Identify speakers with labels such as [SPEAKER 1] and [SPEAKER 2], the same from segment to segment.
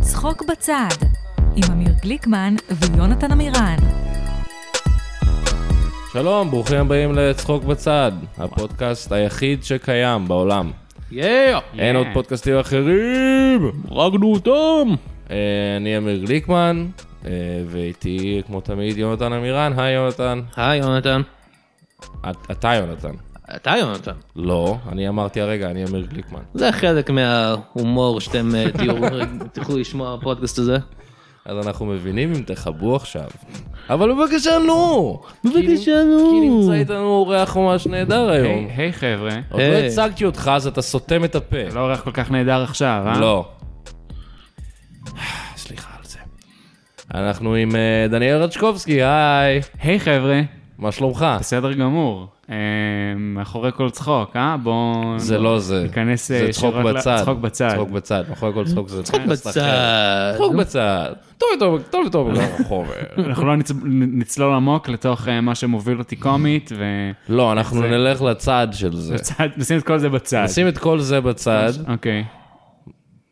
[SPEAKER 1] צחוק בצד, עם אמיר גליקמן ויונתן עמירן.
[SPEAKER 2] שלום, ברוכים הבאים לצחוק בצד, הפודקאסט היחיד שקיים בעולם.
[SPEAKER 3] יאה!
[SPEAKER 2] אין עוד פודקאסטים אחרים!
[SPEAKER 3] הרגנו אותם!
[SPEAKER 2] אה, אני אמיר גליקמן, אה, ואיתי, כמו תמיד, יונתן עמירן. היי, יונתן.
[SPEAKER 3] היי יונתן.
[SPEAKER 2] את- אתה יונתן.
[SPEAKER 3] אתה יונתן.
[SPEAKER 2] לא, אני אמרתי הרגע, אני אמיר גליקמן.
[SPEAKER 3] זה חלק מההומור שאתם אה, תהיו- תוכלו לשמוע בפודקאסט הזה.
[SPEAKER 2] אז אנחנו מבינים אם תכבו עכשיו. אבל בבקשה, נו!
[SPEAKER 3] בבקשה,
[SPEAKER 2] כי
[SPEAKER 3] נו. אוקיי.
[SPEAKER 2] נמצא איתנו אורח ממש נהדר היום.
[SPEAKER 4] היי היי, חבר'ה,
[SPEAKER 2] עוד לא
[SPEAKER 3] היי.
[SPEAKER 2] הצגתי אותך, אז אתה סותם את הפה.
[SPEAKER 4] לא אורח כל כך נהדר עכשיו, אה?
[SPEAKER 2] לא. סליחה על זה. אנחנו עם אה, דניאל רצ'קובסקי, היי.
[SPEAKER 4] היי חבר'ה,
[SPEAKER 2] מה שלומך?
[SPEAKER 4] בסדר גמור. אה, מאחורי כל צחוק, אה? בואו...
[SPEAKER 2] זה לא זה.
[SPEAKER 4] ניכנס,
[SPEAKER 2] זה
[SPEAKER 4] אה,
[SPEAKER 2] צחוק
[SPEAKER 4] ישירות ל-
[SPEAKER 2] בצד.
[SPEAKER 4] צחוק בצד.
[SPEAKER 2] צחוק בצד. מאחורי כל צחוק זה צחוק
[SPEAKER 3] בצד.
[SPEAKER 2] צחוק בצד. טוב וטוב, טוב לא. וטוב וטוב חומר.
[SPEAKER 4] אנחנו לא נצ... נ- נצלול עמוק לתוך אה, מה שמוביל אותי קומית, ולצד,
[SPEAKER 2] לא, אנחנו נלך לצד של זה.
[SPEAKER 4] נשים את כל זה בצד.
[SPEAKER 2] נשים את כל זה בצד.
[SPEAKER 4] אוקיי.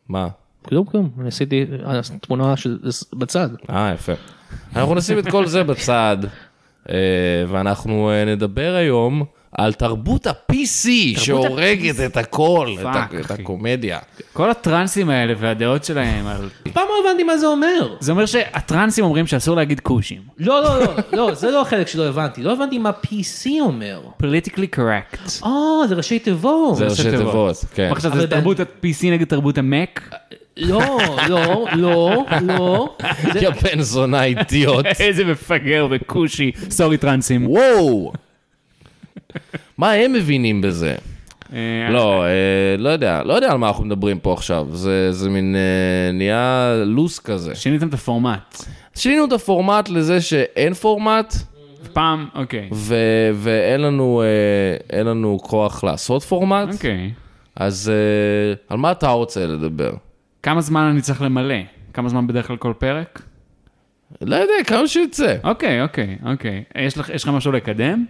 [SPEAKER 2] מה?
[SPEAKER 3] כלום כלום, לא, אני עשיתי אה, תמונה של בצד.
[SPEAKER 2] אה, יפה. אנחנו נשים את כל זה בצד, אה, ואנחנו אה, נדבר היום על תרבות ה-PC שהורגת את הכל, את ה-
[SPEAKER 4] פאק,
[SPEAKER 2] את
[SPEAKER 4] אחי.
[SPEAKER 2] הקומדיה.
[SPEAKER 4] כל הטרנסים האלה והדעות שלהם, על...
[SPEAKER 3] פעם לא הבנתי מה זה אומר.
[SPEAKER 4] זה אומר שהטרנסים אומרים שאסור להגיד כושים.
[SPEAKER 3] לא, לא, לא, לא, זה לא החלק שלא הבנתי. לא הבנתי מה PC אומר.
[SPEAKER 4] פוליטיקלי קורקט.
[SPEAKER 3] אה, זה ראשי תיבות.
[SPEAKER 2] זה ראשי תיבות, כן.
[SPEAKER 4] עכשיו
[SPEAKER 3] אבל
[SPEAKER 4] זה תרבות ה-PC נגד תרבות המק?
[SPEAKER 3] לא, לא, לא, לא. זה-
[SPEAKER 2] יא בן זונה אידיוט.
[SPEAKER 4] איזה מפגר וכושי. סורי טרנסים.
[SPEAKER 2] וואו. מה הם מבינים בזה?
[SPEAKER 4] אה,
[SPEAKER 2] לא, אה, לא יודע, לא יודע על מה אנחנו מדברים פה עכשיו, זה זה מין אה, נהיה לוס כזה.
[SPEAKER 4] שיניתם את הפורמט.
[SPEAKER 2] שינינו את הפורמט לזה שאין פורמט,
[SPEAKER 4] פעם, אוקיי.
[SPEAKER 2] ו- ואין לנו, אה, אין לנו כוח לעשות פורמט,
[SPEAKER 4] אוקיי.
[SPEAKER 2] אז אה, על מה אתה רוצה לדבר?
[SPEAKER 4] כמה זמן אני צריך למלא? כמה זמן בדרך כלל כל פרק?
[SPEAKER 2] לא יודע, כמה שיוצא.
[SPEAKER 4] אוקיי, אוקיי, אוקיי. יש לך- יש לך משהו לקדם?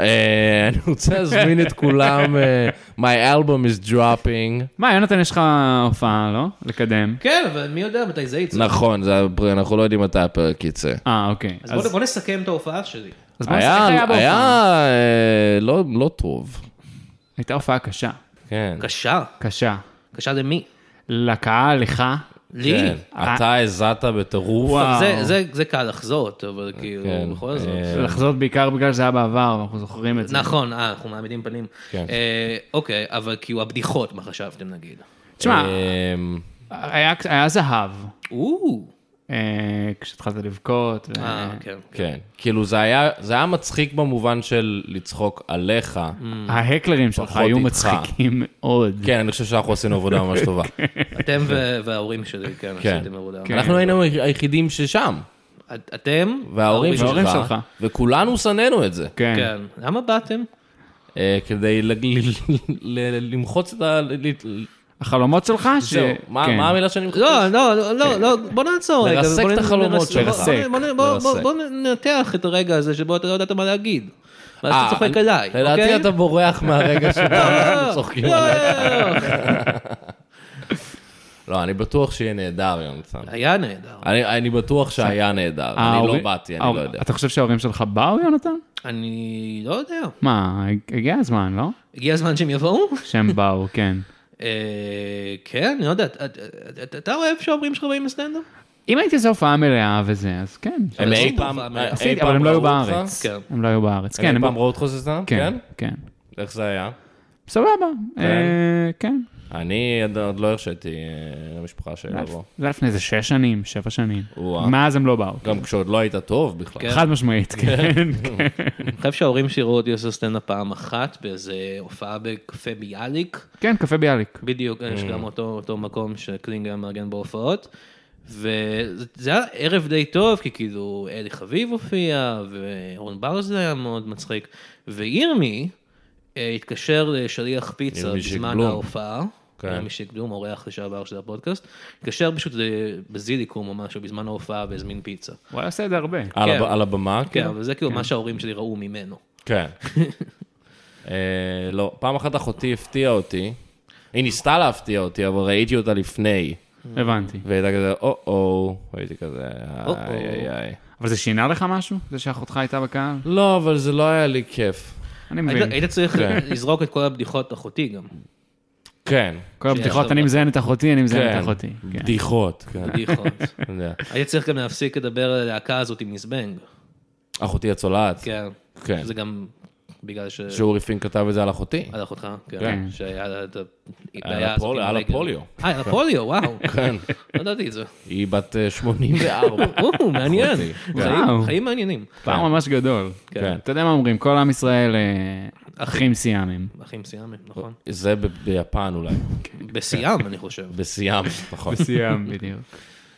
[SPEAKER 2] אה, אני רוצה להזמין את כולם, אה, my album is dropping.
[SPEAKER 4] מה, יונתן, יש לך הופעה, לא? לקדם?
[SPEAKER 3] כן, אבל מי יודע מתי זה יצא.
[SPEAKER 2] נכון, זה הפר- אנחנו לא יודעים מתי הפרק יצא.
[SPEAKER 4] אה, אוקיי.
[SPEAKER 3] אז בוא- בוא נסכם את ההופעה שלי.
[SPEAKER 4] אז בוא נעשה
[SPEAKER 2] היה,
[SPEAKER 4] איך היה בהופעה.
[SPEAKER 2] היה אה, לא לא טוב.
[SPEAKER 4] הייתה הופעה קשה.
[SPEAKER 2] כן.
[SPEAKER 3] קשה.
[SPEAKER 4] קשה.
[SPEAKER 3] קשה למי?
[SPEAKER 4] לקהל, לך.
[SPEAKER 3] לי?
[SPEAKER 2] כן. אתה הזעת בטירוף.
[SPEAKER 4] אה. וואו.
[SPEAKER 3] זה- זה- זה קל לחזות, אבל
[SPEAKER 2] כן,
[SPEAKER 3] כאילו, בכל זאת.
[SPEAKER 2] אה,
[SPEAKER 4] לחזות בעיקר בגלל שזה היה בעבר, ואנחנו זוכרים את זה.
[SPEAKER 3] נכון, אה, אנחנו מעמידים פנים.
[SPEAKER 2] כן.
[SPEAKER 3] אה, אוקיי, אבל כאילו הבדיחות, מה חשבתם נגיד?
[SPEAKER 4] תשמע,
[SPEAKER 2] אמ,
[SPEAKER 4] היה היה זהב.
[SPEAKER 3] או,
[SPEAKER 4] אה, כשהתחלת לבכות. ו-
[SPEAKER 3] אה, כן.
[SPEAKER 2] כן. כאילו זה היה זה היה מצחיק במובן של לצחוק עליך.
[SPEAKER 4] Mm. ההקלרים שלך
[SPEAKER 2] פחות
[SPEAKER 4] היו
[SPEAKER 2] איתך.
[SPEAKER 4] מצחיקים מאוד.
[SPEAKER 2] כן, אני חושב שאנחנו עשינו עבודה ממש טובה.
[SPEAKER 3] אתם ו- וההורים שלי, כן,
[SPEAKER 2] כן.
[SPEAKER 3] עשיתם עבודה.
[SPEAKER 4] כן.
[SPEAKER 2] אנחנו היינו היחידים ששם,
[SPEAKER 3] את- אתם?
[SPEAKER 2] וההורים
[SPEAKER 4] וההורים
[SPEAKER 2] שלך,
[SPEAKER 4] שלך.
[SPEAKER 2] וכולנו שנאנו את זה,
[SPEAKER 4] כן.
[SPEAKER 3] כן. למה באתם?
[SPEAKER 2] אה, כדי ל- ל- ל- למחוץ את ה... ל- ל-
[SPEAKER 4] החלומות שלך? ש-
[SPEAKER 2] זהו, מה
[SPEAKER 4] כן.
[SPEAKER 2] מה המילה שאני אה, מחוץ?
[SPEAKER 3] לא, לא, לא, לא, לא, בוא נעצור
[SPEAKER 2] כן.
[SPEAKER 3] רגע.
[SPEAKER 2] לרסק
[SPEAKER 3] ובוא
[SPEAKER 2] את
[SPEAKER 3] נ-
[SPEAKER 2] החלומות
[SPEAKER 3] נרס-
[SPEAKER 2] שלך.
[SPEAKER 3] בוא- בוא- בוא- בוא-
[SPEAKER 2] לרסק.
[SPEAKER 3] בוא ננתח את הרגע הזה שבו אתה לא ידעת מה להגיד. ואז אתה צוחק
[SPEAKER 2] אה, אני-
[SPEAKER 3] עליי, אוקיי?
[SPEAKER 2] לדעתי אתה בורח מהרגע שבו אנחנו
[SPEAKER 3] לא,
[SPEAKER 2] צוחקים
[SPEAKER 3] לא,
[SPEAKER 2] עליך.
[SPEAKER 3] לא, לא, לא.
[SPEAKER 2] לא, אני בטוח שיהיה נהדר, יונתן.
[SPEAKER 3] היה נהדר.
[SPEAKER 2] אני אני
[SPEAKER 4] אה,
[SPEAKER 2] בטוח שהיה נהדר, אני לא
[SPEAKER 4] ההורים-
[SPEAKER 2] באתי, אני
[SPEAKER 4] ההור-
[SPEAKER 2] לא יודע.
[SPEAKER 4] אתה חושב שההורים שלך באו, יונתן?
[SPEAKER 3] אני לא יודע.
[SPEAKER 4] מה, הגיע הזמן, לא?
[SPEAKER 3] הגיע הזמן שהם יבואו?
[SPEAKER 4] שהם באו, כן.
[SPEAKER 3] אה, כן, אני לא יודע. את- את- את- את- אתה אוהב שההורים שלך באים לסטנדאפ?
[SPEAKER 4] אם הייתי עושה הופעה מלאה וזה, אז כן.
[SPEAKER 2] הם אי
[SPEAKER 3] עשו
[SPEAKER 2] פעם, אה,
[SPEAKER 3] תקופה,
[SPEAKER 2] אי
[SPEAKER 4] עשיתי,
[SPEAKER 2] פעם
[SPEAKER 4] אבל הם לא היו
[SPEAKER 2] ראו אותך?
[SPEAKER 4] בארץ.
[SPEAKER 3] כן.
[SPEAKER 4] הם לא היו בארץ.
[SPEAKER 2] הם
[SPEAKER 4] כן,
[SPEAKER 2] אי
[SPEAKER 4] הם-
[SPEAKER 2] פעם ראו אותך סתם?
[SPEAKER 4] כן,
[SPEAKER 2] כן?
[SPEAKER 4] כן.
[SPEAKER 2] איך זה היה?
[SPEAKER 4] סבבה, אה, כן.
[SPEAKER 2] אני עד- עוד לא הרשיתי אה, למשפחה
[SPEAKER 4] זה
[SPEAKER 2] שלו.
[SPEAKER 4] היה- זה היה לפני איזה שש שנים, שבע שנים.
[SPEAKER 2] וואו.
[SPEAKER 4] מאז הם לא באו.
[SPEAKER 2] גם כשעוד לא היית טוב בכלל.
[SPEAKER 3] כן.
[SPEAKER 4] חד משמעית, כן.
[SPEAKER 3] אני חושב שההורים שלי ראו אותי עושה סטנדאפ פעם אחת באיזה הופעה בקפה ביאליק,
[SPEAKER 4] כן, קפה ביאליק.
[SPEAKER 3] בדיוק, יש
[SPEAKER 2] Mm.
[SPEAKER 3] גם אותו, אותו מקום שקלינג היה מארגן בהופעות. וזה זה היה ערב די טוב, כי כאילו אלי חביב הופיע, ואורן ברז היה מאוד מצחיק, וירמי אה, התקשר לשליח פיצה
[SPEAKER 2] ירמי
[SPEAKER 3] בזמן
[SPEAKER 2] שיקבלום.
[SPEAKER 3] ההופעה.
[SPEAKER 2] כן.
[SPEAKER 3] ירמי שיקדום, אורח לשעבר של הפודקאסט, התקשר פשוט ל- בזיליקום או משהו בזמן ההופעה והזמין פיצה.
[SPEAKER 4] הוא היה עושה את זה הרבה.
[SPEAKER 2] על
[SPEAKER 3] כן.
[SPEAKER 2] הב- על הבמה?
[SPEAKER 3] כן,
[SPEAKER 2] כאילו?
[SPEAKER 3] אבל זה כאילו מה שההורים שלי ראו ממנו.
[SPEAKER 2] כן. אה, לא, פעם אחת אחותי הפתיעה אותי. היא ניסתה להפתיע אותי, אבל ראיתי אותה לפני.
[SPEAKER 4] הבנתי.
[SPEAKER 2] והייתה כזה, או-או, הייתי כזה,
[SPEAKER 3] או-או.
[SPEAKER 2] איי איי איי.
[SPEAKER 4] אבל זה שינה לך משהו? זה שאחותך הייתה בקהל?
[SPEAKER 2] לא, אבל זה לא היה לי כיף.
[SPEAKER 4] אני
[SPEAKER 3] היית-
[SPEAKER 4] מבין.
[SPEAKER 3] היית צריך
[SPEAKER 2] כן.
[SPEAKER 3] לזרוק את כל הבדיחות אחותי גם.
[SPEAKER 2] כן,
[SPEAKER 4] כל הבדיחות, אני מזיין את אחותי, אני מזיין
[SPEAKER 2] כן.
[SPEAKER 4] את אחותי. כן.
[SPEAKER 2] בדיחות. כן,
[SPEAKER 3] בדיחות.
[SPEAKER 2] אני יודע.
[SPEAKER 3] היית צריך גם להפסיק לדבר על הלהקה הזאת עם מזבנג.
[SPEAKER 2] אחותי הצולעת.
[SPEAKER 3] כן.
[SPEAKER 2] כן.
[SPEAKER 3] זה גם בגלל ש...
[SPEAKER 2] שאורי פין כתב את זה על אחותי.
[SPEAKER 3] על אחותך, כן.
[SPEAKER 4] כן.
[SPEAKER 3] שהיה לה את
[SPEAKER 2] היה
[SPEAKER 3] הבעיה
[SPEAKER 2] לה
[SPEAKER 3] הזאת.
[SPEAKER 2] פוליו,
[SPEAKER 3] עם
[SPEAKER 2] היה לה
[SPEAKER 3] הרגל.
[SPEAKER 2] פוליו.
[SPEAKER 3] אה, היה לה פוליו, וואו.
[SPEAKER 2] כן.
[SPEAKER 3] לא ידעתי את זה.
[SPEAKER 2] היא בת אה, 84.
[SPEAKER 3] או, מעניין.
[SPEAKER 2] אחותי.
[SPEAKER 3] חיים-
[SPEAKER 4] וואו.
[SPEAKER 3] חיים מעניינים.
[SPEAKER 4] פער ממש גדול.
[SPEAKER 3] כן.
[SPEAKER 4] אתה יודע מה אומרים, כל עם ישראל אה, אחים סיאמים.
[SPEAKER 3] אחים סיאמים, נכון.
[SPEAKER 2] זה ב- ביפן אולי.
[SPEAKER 3] בסיאם, אני חושב.
[SPEAKER 2] בסיאם, נכון.
[SPEAKER 4] סיאם, בדיוק.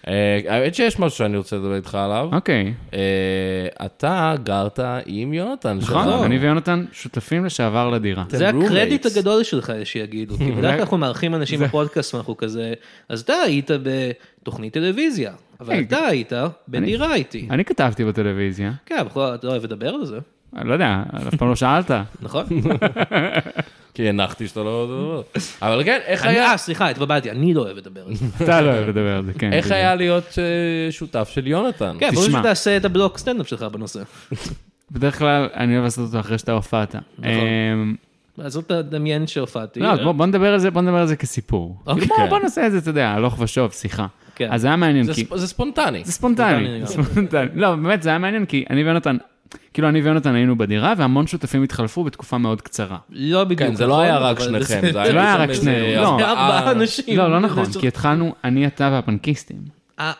[SPEAKER 2] אה, האמת שיש משהו שאני רוצה לדבר איתך עליו.
[SPEAKER 4] אוקיי.
[SPEAKER 2] אה, אתה גרת עם יונתן שלנו.
[SPEAKER 4] נכון, אני ויונתן שותפים לשעבר לדירה.
[SPEAKER 2] אתם
[SPEAKER 3] זה הקרדיט
[SPEAKER 2] roommates.
[SPEAKER 3] הגדול שלך שיגידו, כי בדרך כלל אנחנו מארחים אנשים בפודקאסט ואנחנו כזה, אז אתה היית בתוכנית טלוויזיה, אבל
[SPEAKER 4] היי,
[SPEAKER 3] אתה היית בדירה איתי.
[SPEAKER 4] כן. אני כתבתי בטלוויזיה,
[SPEAKER 3] כן, אבל בכל- אתה אוהב לדבר על זה,
[SPEAKER 4] אני לא יודע, אף פעם לא שאלת.
[SPEAKER 3] נכון?
[SPEAKER 2] כי הנחתי שאתה לא... אבל כן, איך
[SPEAKER 3] אני-
[SPEAKER 2] היה...
[SPEAKER 3] אה, סליחה, התבלבלתי, אני לא אוהב לדבר על זה.
[SPEAKER 4] אתה לא אוהב לדבר על זה, כן.
[SPEAKER 2] איך
[SPEAKER 4] בדיוק.
[SPEAKER 2] היה להיות אה, שותף של יונתן?
[SPEAKER 3] כן, ברור
[SPEAKER 4] תשמע.
[SPEAKER 3] שתעשה את הבלוק סטנדאפ שלך בנושא.
[SPEAKER 4] בדרך כלל אני אוהב לעשות אותו אחרי שאתה הופעת.
[SPEAKER 2] נכון.
[SPEAKER 4] אמ,
[SPEAKER 3] אז זאת הדמיין שהופעתי.
[SPEAKER 4] לא, אז בוא- בוא נדבר על זה, בוא נדבר על זה כסיפור.
[SPEAKER 3] אוקיי.
[SPEAKER 4] בוא- בוא נעשה את זה, אתה יודע, הלוך ושוב, שיחה.
[SPEAKER 3] כן.
[SPEAKER 4] אז זה היה מעניין,
[SPEAKER 2] זה
[SPEAKER 4] כי...
[SPEAKER 2] ספ- זה ספונטני.
[SPEAKER 4] זה ספונטני,
[SPEAKER 3] לגמרי.
[SPEAKER 4] ספונטני. לא, באמת, זה היה מעניין, כי אני ויונתן, כאילו אני ויונתן היינו בדירה, והמון שותפים התחלפו בתקופה מאוד קצרה.
[SPEAKER 3] לא בדיוק.
[SPEAKER 2] כן, זה לא
[SPEAKER 3] נכון,
[SPEAKER 2] היה רק
[SPEAKER 3] אבל
[SPEAKER 2] שניכם,
[SPEAKER 3] בסדר.
[SPEAKER 2] זה
[SPEAKER 4] זה לא היה
[SPEAKER 2] שם
[SPEAKER 4] רק
[SPEAKER 2] איזה
[SPEAKER 4] שנינו, לא.
[SPEAKER 2] ארבעה-
[SPEAKER 3] ארבעה אנשים.
[SPEAKER 4] לא, לא נכון,
[SPEAKER 3] זה-
[SPEAKER 4] כי התחלנו, אני, אתה והפנקיסטים.
[SPEAKER 3] אה,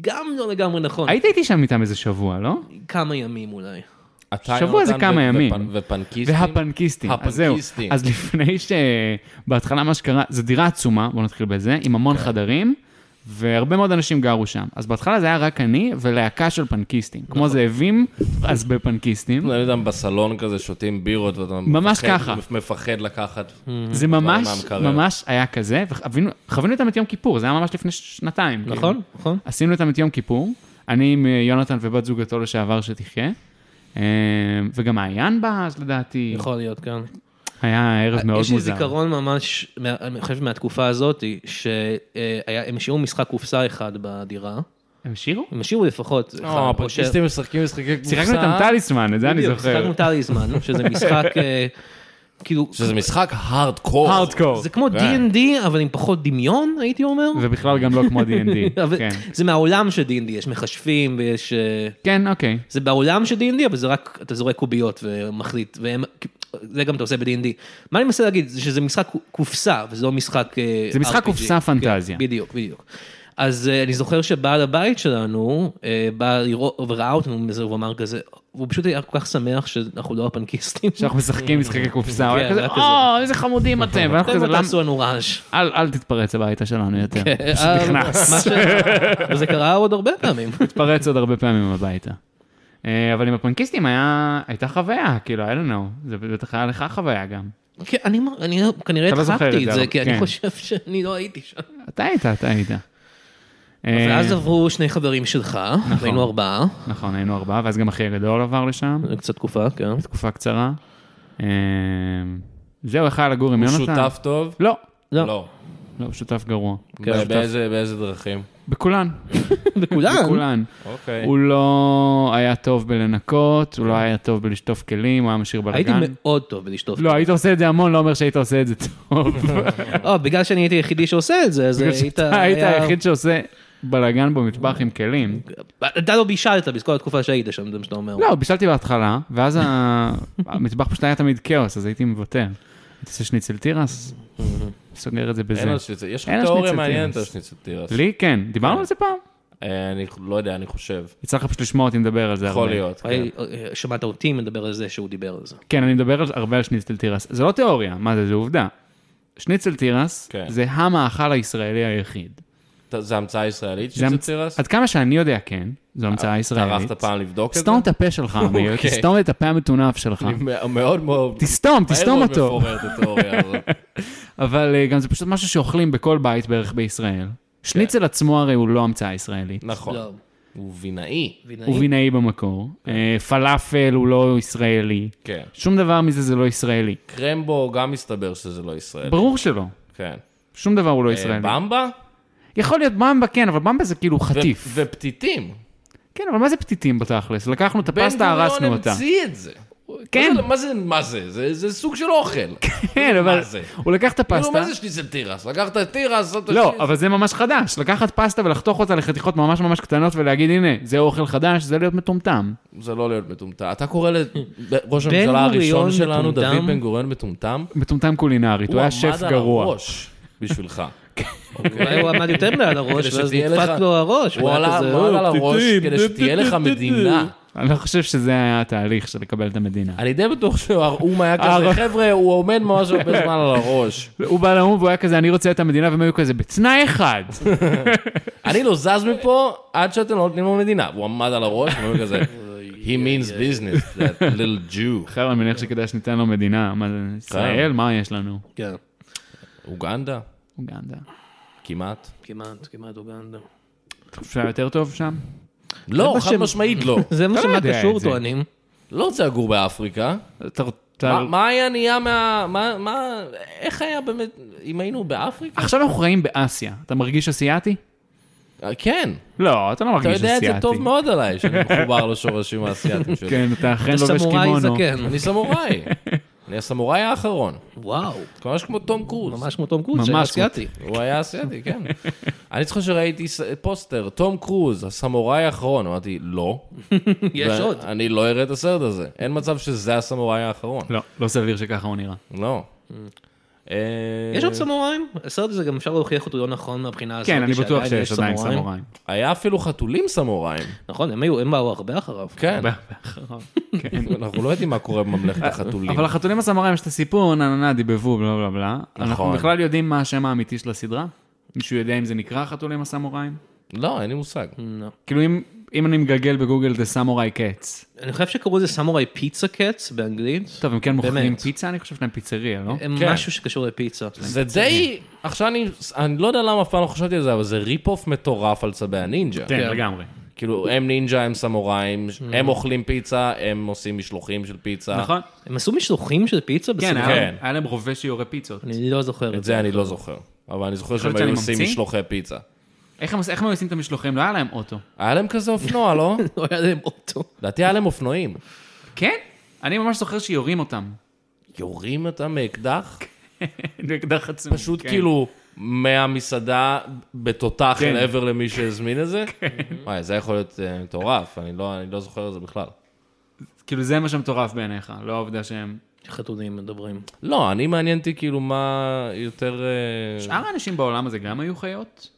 [SPEAKER 3] גם לא לגמרי נכון.
[SPEAKER 4] היית כן. איתי שם איתם איזה שבוע, לא?
[SPEAKER 3] כמה ימים אולי.
[SPEAKER 2] אתה,
[SPEAKER 4] שבוע זה
[SPEAKER 2] יונתן,
[SPEAKER 4] כמה
[SPEAKER 2] ו-
[SPEAKER 4] ימים.
[SPEAKER 2] ופנ- ופנקיסטים.
[SPEAKER 4] והפנקיסטים, אז זהו.
[SPEAKER 2] הפנקיסטים.
[SPEAKER 4] אז לפני ש... בהתחלה מה שקרה, זו דירה עצומה, בואו נתחיל בזה, עם
[SPEAKER 3] כן.
[SPEAKER 4] המון חדרים, והרבה מאוד אנשים גרו שם. אז בהתחלה זה היה רק אני ולהקה של פנקיסטים. כמו
[SPEAKER 3] נכון.
[SPEAKER 4] זאבים, אז בפנקיסטים.
[SPEAKER 2] אני יודע, בסלון כזה שותים בירות ואתה
[SPEAKER 4] ממש
[SPEAKER 2] מפחד-
[SPEAKER 4] ככה.
[SPEAKER 2] מפחד לקחת. אה,
[SPEAKER 4] זה ממש,
[SPEAKER 2] מהמקרר.
[SPEAKER 4] ממש היה כזה, וחווינו איתם את יום כיפור, זה היה ממש לפני שנתיים. כאילו.
[SPEAKER 3] נכון, נכון.
[SPEAKER 4] עשינו איתם את יום כיפור, אני עם אה, יונתן ובת זוגתו לשעבר שתחיה, אה, וגם מעיין בה אז לדעתי,
[SPEAKER 3] יכול להיות, כן.
[SPEAKER 4] היה ערב מאוד
[SPEAKER 3] אה, יש לי
[SPEAKER 4] מוזר.
[SPEAKER 3] זיכרון ממש, מה- אני חושב מהתקופה הזאת, שהם השאירו משחק קופסה אחד בדירה.
[SPEAKER 4] הם שירו?
[SPEAKER 3] הם השאירו לפחות.
[SPEAKER 4] אה,
[SPEAKER 3] אחד,
[SPEAKER 2] לא,
[SPEAKER 3] או
[SPEAKER 2] הפנקיסטים משחקים משחקי קבוצה.
[SPEAKER 4] שיחקנו איתם טליסמן, את זה אני
[SPEAKER 3] בדיוק,
[SPEAKER 4] זוכר.
[SPEAKER 3] שיחקנו טליזמן, שזה משחק, אה, כאילו,
[SPEAKER 2] שזה משחק הארדקור.
[SPEAKER 4] הארדקור.
[SPEAKER 3] זה כמו
[SPEAKER 2] כן.
[SPEAKER 3] D&D, אבל עם פחות דמיון, הייתי אומר.
[SPEAKER 4] ובכלל גם לא כמו D&D,
[SPEAKER 3] אבל
[SPEAKER 4] כן.
[SPEAKER 3] זה מהעולם של D&D, יש מכשפים ויש... אה,
[SPEAKER 4] כן, אוקיי.
[SPEAKER 3] זה בעולם של D&D, אבל זה רק, אתה זורק קוביות ומחליט, והם, זה גם אתה עושה ב-D&D. מה אני מנסה להגיד, זה שזה משחק קופסה, וזה לא משחק אה,
[SPEAKER 4] זה משחק
[SPEAKER 3] RPG.
[SPEAKER 4] קופסה פנטזיה.
[SPEAKER 3] כן, בדיוק, בדיוק. אז אה, אני זוכר שבעל הבית שלנו אה, בא לראות וראה אותנו מזה, הוא אמר כזה, הוא פשוט היה כל כך שמח שאנחנו לא הפנקיסטים.
[SPEAKER 4] שאנחנו משחקים משחקי קופסה, הוא היה
[SPEAKER 3] כן, זה
[SPEAKER 4] כזה,
[SPEAKER 3] היה כזה.
[SPEAKER 4] או, איזה חמודים אתם, ואנחנו
[SPEAKER 3] אתם
[SPEAKER 4] כזה,
[SPEAKER 3] לא
[SPEAKER 4] "למה-
[SPEAKER 3] תעשו לנו רעש.
[SPEAKER 4] אל אל תתפרץ הביתה שלנו יותר. פשוט
[SPEAKER 3] אה,
[SPEAKER 4] נכנס.
[SPEAKER 3] מה ש- וזה קרה עוד הרבה פעמים.
[SPEAKER 4] התפרץ עוד הרבה פעמים הביתה. אה, אבל עם הפנקיסטים היה- הייתה חוויה, כאילו, I don't know, זה בטח היה לך חוויה גם.
[SPEAKER 3] כן, אני מ- אני כנראה
[SPEAKER 4] אתה לא זוכר את
[SPEAKER 3] הדחקתי
[SPEAKER 4] זה,
[SPEAKER 3] את זה,
[SPEAKER 4] אבל-
[SPEAKER 3] כי אני
[SPEAKER 4] כן.
[SPEAKER 3] חושב שאני לא הייתי שם.
[SPEAKER 4] אתה היית, אתה היית. אה,
[SPEAKER 3] ואז עברו שני חברים שלך, היינו ארבעה,
[SPEAKER 4] נכון, היינו ארבעה, ואז גם אחי הגדול עבר לשם,
[SPEAKER 3] קצת תקופה, כן.
[SPEAKER 4] תקופה קצרה. אה, זהו, איך היה לגור עם
[SPEAKER 2] הוא
[SPEAKER 4] יונתן?
[SPEAKER 2] שותף טוב?
[SPEAKER 4] לא,
[SPEAKER 3] לא.
[SPEAKER 2] לא.
[SPEAKER 4] לא, הוא שותף גרוע.
[SPEAKER 2] בא- כן. באיזה באיזה דרכים?
[SPEAKER 4] בכולן,
[SPEAKER 3] בכולם.
[SPEAKER 4] בכולן.
[SPEAKER 2] אוקיי.
[SPEAKER 4] הוא לא היה טוב בלנקות, הוא לא היה טוב בלשטוף כלים, הוא היה משאיר
[SPEAKER 3] הייתי
[SPEAKER 4] בלאגן.
[SPEAKER 3] מאוד טוב בלשטוף.
[SPEAKER 4] לא, היית עושה את זה המון, לא אומר שהיית עושה את זה טוב.
[SPEAKER 3] או, אה, בגלל שאני הייתי היחידי שעושה את זה, אז
[SPEAKER 4] בגלל
[SPEAKER 3] היית...
[SPEAKER 4] שאתה היית
[SPEAKER 3] היה-
[SPEAKER 4] היחיד שעושה בלאגן במטבח עם כלים.
[SPEAKER 3] אתה לא בישלת בכל התקופה שהיית שם, זה מה שאתה אומר.
[SPEAKER 4] לא, בישלתי בהתחלה, ואז ה- המטבח פשוט היה תמיד כאוס, אז הייתי מוותר. הייתי עושה שניצל תירס, סוגר את זה
[SPEAKER 2] אין
[SPEAKER 4] בזה.
[SPEAKER 2] על שניצל. יש לך
[SPEAKER 4] אין על
[SPEAKER 2] תיאוריה
[SPEAKER 4] שניצל
[SPEAKER 2] מעניינת על
[SPEAKER 4] תירס.
[SPEAKER 2] שניצל תירס.
[SPEAKER 4] לי כן, דיברנו על זה פעם?
[SPEAKER 2] אה, אני לא יודע, אני חושב.
[SPEAKER 4] יצא לך פשוט לשמוע אותי מדבר על זה הרבה.
[SPEAKER 2] יכול להיות. כן.
[SPEAKER 3] היי, אה, שמעת אותי מדבר על זה שהוא דיבר על זה.
[SPEAKER 4] כן, אני מדבר על- הרבה על שניצל תירס. זה לא תיאוריה, מה זה, זה עובדה. שניצל תירס
[SPEAKER 2] כן.
[SPEAKER 4] זה המאכל הישראלי היחיד.
[SPEAKER 2] ת- זה המצאה ישראלית
[SPEAKER 4] זה
[SPEAKER 2] שניצל
[SPEAKER 4] המצ-
[SPEAKER 2] תירס? אה,
[SPEAKER 4] עד כמה שאני יודע, כן, זו המצאה ישראלית.
[SPEAKER 2] טרחת פעם לבדוק את זה?
[SPEAKER 4] סתום את הפה שלך, אמיר,
[SPEAKER 2] אוקיי.
[SPEAKER 4] תסתום את הפה המטונף שלך.
[SPEAKER 2] אני מא- מאוד מאוד...
[SPEAKER 4] תסתום,
[SPEAKER 2] מהר
[SPEAKER 4] תסתום
[SPEAKER 2] מאוד
[SPEAKER 4] אותו.
[SPEAKER 2] מפורר את התיאוריה הזאת.
[SPEAKER 4] אבל אה, גם זה פשוט משהו שאוכלים בכל בית בערך בישראל. שניצל עצמו הרי הוא לא המצאה ישראלית.
[SPEAKER 2] כן. נכון.
[SPEAKER 3] לא,
[SPEAKER 2] הוא וינאי.
[SPEAKER 3] וינאי.
[SPEAKER 4] הוא וינאי במקור. אה, פלאפל הוא לא ישראלי.
[SPEAKER 2] כן.
[SPEAKER 4] שום דבר מזה זה לא ישראלי.
[SPEAKER 2] קרמבו גם מסתבר שזה לא ישראל.
[SPEAKER 4] ברור שלא.
[SPEAKER 2] כן.
[SPEAKER 4] שום דבר הוא לא
[SPEAKER 2] אה,
[SPEAKER 4] ישראלי.
[SPEAKER 2] במבה?
[SPEAKER 4] יכול להיות במבה כן, אבל במבה זה כאילו חטיף.
[SPEAKER 2] ו- ופתיתים.
[SPEAKER 4] כן, אבל מה זה פתיתים בתכלס? לקחנו את הפסטה, הרסנו
[SPEAKER 2] בן גוריון
[SPEAKER 4] אותה.
[SPEAKER 2] המציא לא, את זה.
[SPEAKER 4] כן.
[SPEAKER 2] מה זה- מה זה, מה זה? זה- זה סוג של אוכל.
[SPEAKER 4] כן, אבל
[SPEAKER 2] לא, מה זה?
[SPEAKER 4] הוא לקח את
[SPEAKER 2] כאילו,
[SPEAKER 4] הפסטה.
[SPEAKER 2] מה זה שניצל תירס? לקחת תירס, זאת
[SPEAKER 4] לא, אבל זה ממש חדש. לקחת פסטה ולחתוך אותה לחתיכות ממש ממש קטנות ולהגיד, הנה, זה אוכל חדש, זה להיות מטומטם.
[SPEAKER 2] זה לא להיות מטומטם. אתה קורא לראש
[SPEAKER 3] בן
[SPEAKER 2] הממשלה הראשון
[SPEAKER 3] גוריון
[SPEAKER 2] שלנו,
[SPEAKER 3] מטומטם?
[SPEAKER 2] דוד בן גוריון מטומטם?
[SPEAKER 4] מטומטם קולינרית, הוא היה שף
[SPEAKER 2] הוא עמד על
[SPEAKER 4] גרוע.
[SPEAKER 2] הראש בשבילך.
[SPEAKER 3] אולי הוא עמד יותר מעל הראש,
[SPEAKER 2] כדי
[SPEAKER 3] ואז
[SPEAKER 2] שתהיה לך-
[SPEAKER 3] נדפק לו הראש.
[SPEAKER 2] הוא
[SPEAKER 3] והיה
[SPEAKER 2] עלה-
[SPEAKER 3] כזה,
[SPEAKER 2] הוא עמד
[SPEAKER 3] "אה,
[SPEAKER 2] על הראש
[SPEAKER 3] טיטים,
[SPEAKER 2] כדי
[SPEAKER 3] טיט,
[SPEAKER 2] שתהיה
[SPEAKER 3] טיט,
[SPEAKER 2] לך
[SPEAKER 3] טיט,
[SPEAKER 2] מדינה.
[SPEAKER 4] אני לא חושב שזה היה התהליך של לקבל את המדינה.
[SPEAKER 2] אני די בטוח שהאו"ם היה
[SPEAKER 4] הר-
[SPEAKER 2] כזה, חבר'ה, הוא עומד ממש הרבה זמן על הראש.
[SPEAKER 4] הוא בא לאו"ם והוא היה כזה, אני רוצה את המדינה, והם היו כזה, בתנאי אחד.
[SPEAKER 2] אני לא זז מפה עד שאתם לא נותנים לו מדינה. הוא עמד על הראש, והוא אומר כזה, he means business, that little Jew.
[SPEAKER 4] אחר אני מניח שכדאי שניתן לו מדינה. מה זה, ישראל? מה יש לנו?
[SPEAKER 3] כן,
[SPEAKER 2] אוגנדה?
[SPEAKER 4] אוגנדה.
[SPEAKER 2] כמעט.
[SPEAKER 3] כמעט, כמעט אוגנדה.
[SPEAKER 4] אפשר יותר טוב שם?
[SPEAKER 2] לא,
[SPEAKER 3] מה
[SPEAKER 2] חד
[SPEAKER 3] שהם-
[SPEAKER 2] משמעית לא.
[SPEAKER 3] זה מה
[SPEAKER 4] אתה לא יודע את
[SPEAKER 3] שמקשור
[SPEAKER 4] זה.
[SPEAKER 3] טוענים.
[SPEAKER 2] לא רוצה לגור באפריקה.
[SPEAKER 4] תר- תר-
[SPEAKER 2] מה- מה היה נהיה מה... מה- מה... איך היה באמת... אם היינו באפריקה?
[SPEAKER 4] עכשיו אנחנו חיים באסיה. אתה מרגיש אסיאתי?
[SPEAKER 2] אה, כן.
[SPEAKER 4] לא, אתה לא
[SPEAKER 2] אתה
[SPEAKER 4] מרגיש אסיאתי.
[SPEAKER 2] יודע את זה טוב מאוד עליי, שאני מחובר לשורשים האסייתיים שלי.
[SPEAKER 4] כן, אתה אכן
[SPEAKER 3] אתה
[SPEAKER 4] לובש
[SPEAKER 3] סמוראי
[SPEAKER 4] קימונו.
[SPEAKER 3] זקן.
[SPEAKER 2] אני סמוראי. אני הסמוראי האחרון.
[SPEAKER 3] וואו,
[SPEAKER 2] ממש כמו תום קרוז.
[SPEAKER 3] ממש כמו תום קרוז, שהיה
[SPEAKER 4] ממש כמו-
[SPEAKER 3] אסיאתי.
[SPEAKER 2] הוא היה אסייתי, כן. אני זוכר שראיתי ס- פוסטר, תום קרוז, הסמוראי האחרון. אמרתי, לא.
[SPEAKER 3] יש
[SPEAKER 2] ו-
[SPEAKER 3] עוד.
[SPEAKER 2] אני לא אראה את הסרט הזה. אין מצב שזה הסמוראי האחרון.
[SPEAKER 4] לא, לא סביר שככה הוא נראה.
[SPEAKER 2] לא. אה,
[SPEAKER 3] Mm. יש עוד סמוראים? הסרט הזה גם אפשר להוכיח אותו לא נכון מהבחינה הזאת.
[SPEAKER 4] כן, אני בטוח
[SPEAKER 3] שעדיין
[SPEAKER 4] שיש עדיין סמוראים.
[SPEAKER 2] היה אפילו חתולים סמוראים.
[SPEAKER 3] נכון, הם היו, הם באו הרבה אחריו.
[SPEAKER 2] כן.
[SPEAKER 4] הרבה הרבה אחריו. כן.
[SPEAKER 2] אנחנו לא יודעים מה קורה בממלכת החתולים.
[SPEAKER 4] אבל לחתולים הסמוראים יש את הסיפור, נה נה נה, דיבבו, בלה בלה בלה. אנחנו
[SPEAKER 2] נכון.
[SPEAKER 4] בכלל יודעים מה השם האמיתי של הסדרה? מישהו יודע אם זה נקרא החתולים הסמוראים?
[SPEAKER 2] לא, אין לי מושג.
[SPEAKER 3] לא.
[SPEAKER 4] כאילו אם- אם אני מגגל בגוגל The Samurai Cats.
[SPEAKER 3] אני חושב שקראו לזה סמוראי פיצה קץ באנגלית.
[SPEAKER 4] טוב, הם כן מוכרים
[SPEAKER 3] באמת.
[SPEAKER 4] פיצה, אני חושב שהם פיצריה, לא?
[SPEAKER 3] הם
[SPEAKER 2] כן.
[SPEAKER 3] משהו שקשור לפיצה.
[SPEAKER 2] זה די... עכשיו אני... אני לא יודע למה אף פעם לא חשבתי על זה, אבל זה ריפ-אוף מטורף על צבי הנינג'ה.
[SPEAKER 4] כן, לגמרי.
[SPEAKER 2] כאילו, הם נינג'ה, הם סמוראים, הם אוכלים פיצה, הם עושים משלוחים של פיצה.
[SPEAKER 4] נכון?
[SPEAKER 3] הם עשו משלוחים של פיצה
[SPEAKER 4] כן,
[SPEAKER 3] בסדרה?
[SPEAKER 4] היה
[SPEAKER 2] כן.
[SPEAKER 4] להם- היה להם רובה שיורה פיצות.
[SPEAKER 3] אני לא זוכר
[SPEAKER 2] את זה אני לא זוכר. אבל אני זוכר שהם
[SPEAKER 4] חושבת שאני
[SPEAKER 2] היו עושים
[SPEAKER 4] ממציא?
[SPEAKER 2] משלוחי פיצה.
[SPEAKER 4] איך הם עוש- איך הם היו עושים את המשלוחים? לא היה להם אוטו.
[SPEAKER 2] היה להם כזה אופנוע, לא?
[SPEAKER 3] לא היה להם אוטו.
[SPEAKER 2] לדעתי היה להם אופנועים.
[SPEAKER 4] כן? אני ממש זוכר שיורים אותם.
[SPEAKER 2] יורים אותם מאקדח?
[SPEAKER 4] באקדח עצום.
[SPEAKER 2] פשוט
[SPEAKER 4] כן.
[SPEAKER 2] כאילו מהמסעדה בתותח אל
[SPEAKER 4] כן.
[SPEAKER 2] עבר למי שהזמין את זה. וואי, זה יכול להיות אה, מטורף, אני לא אני לא זוכר את זה בכלל.
[SPEAKER 4] כאילו זה מה שמטורף בעיניך, לא העובדה שהם...
[SPEAKER 3] חתונים מדברים.
[SPEAKER 2] לא, אני מעניין אותי כאילו מה יותר... אה,
[SPEAKER 4] שאר האנשים בעולם הזה גם היו חיות?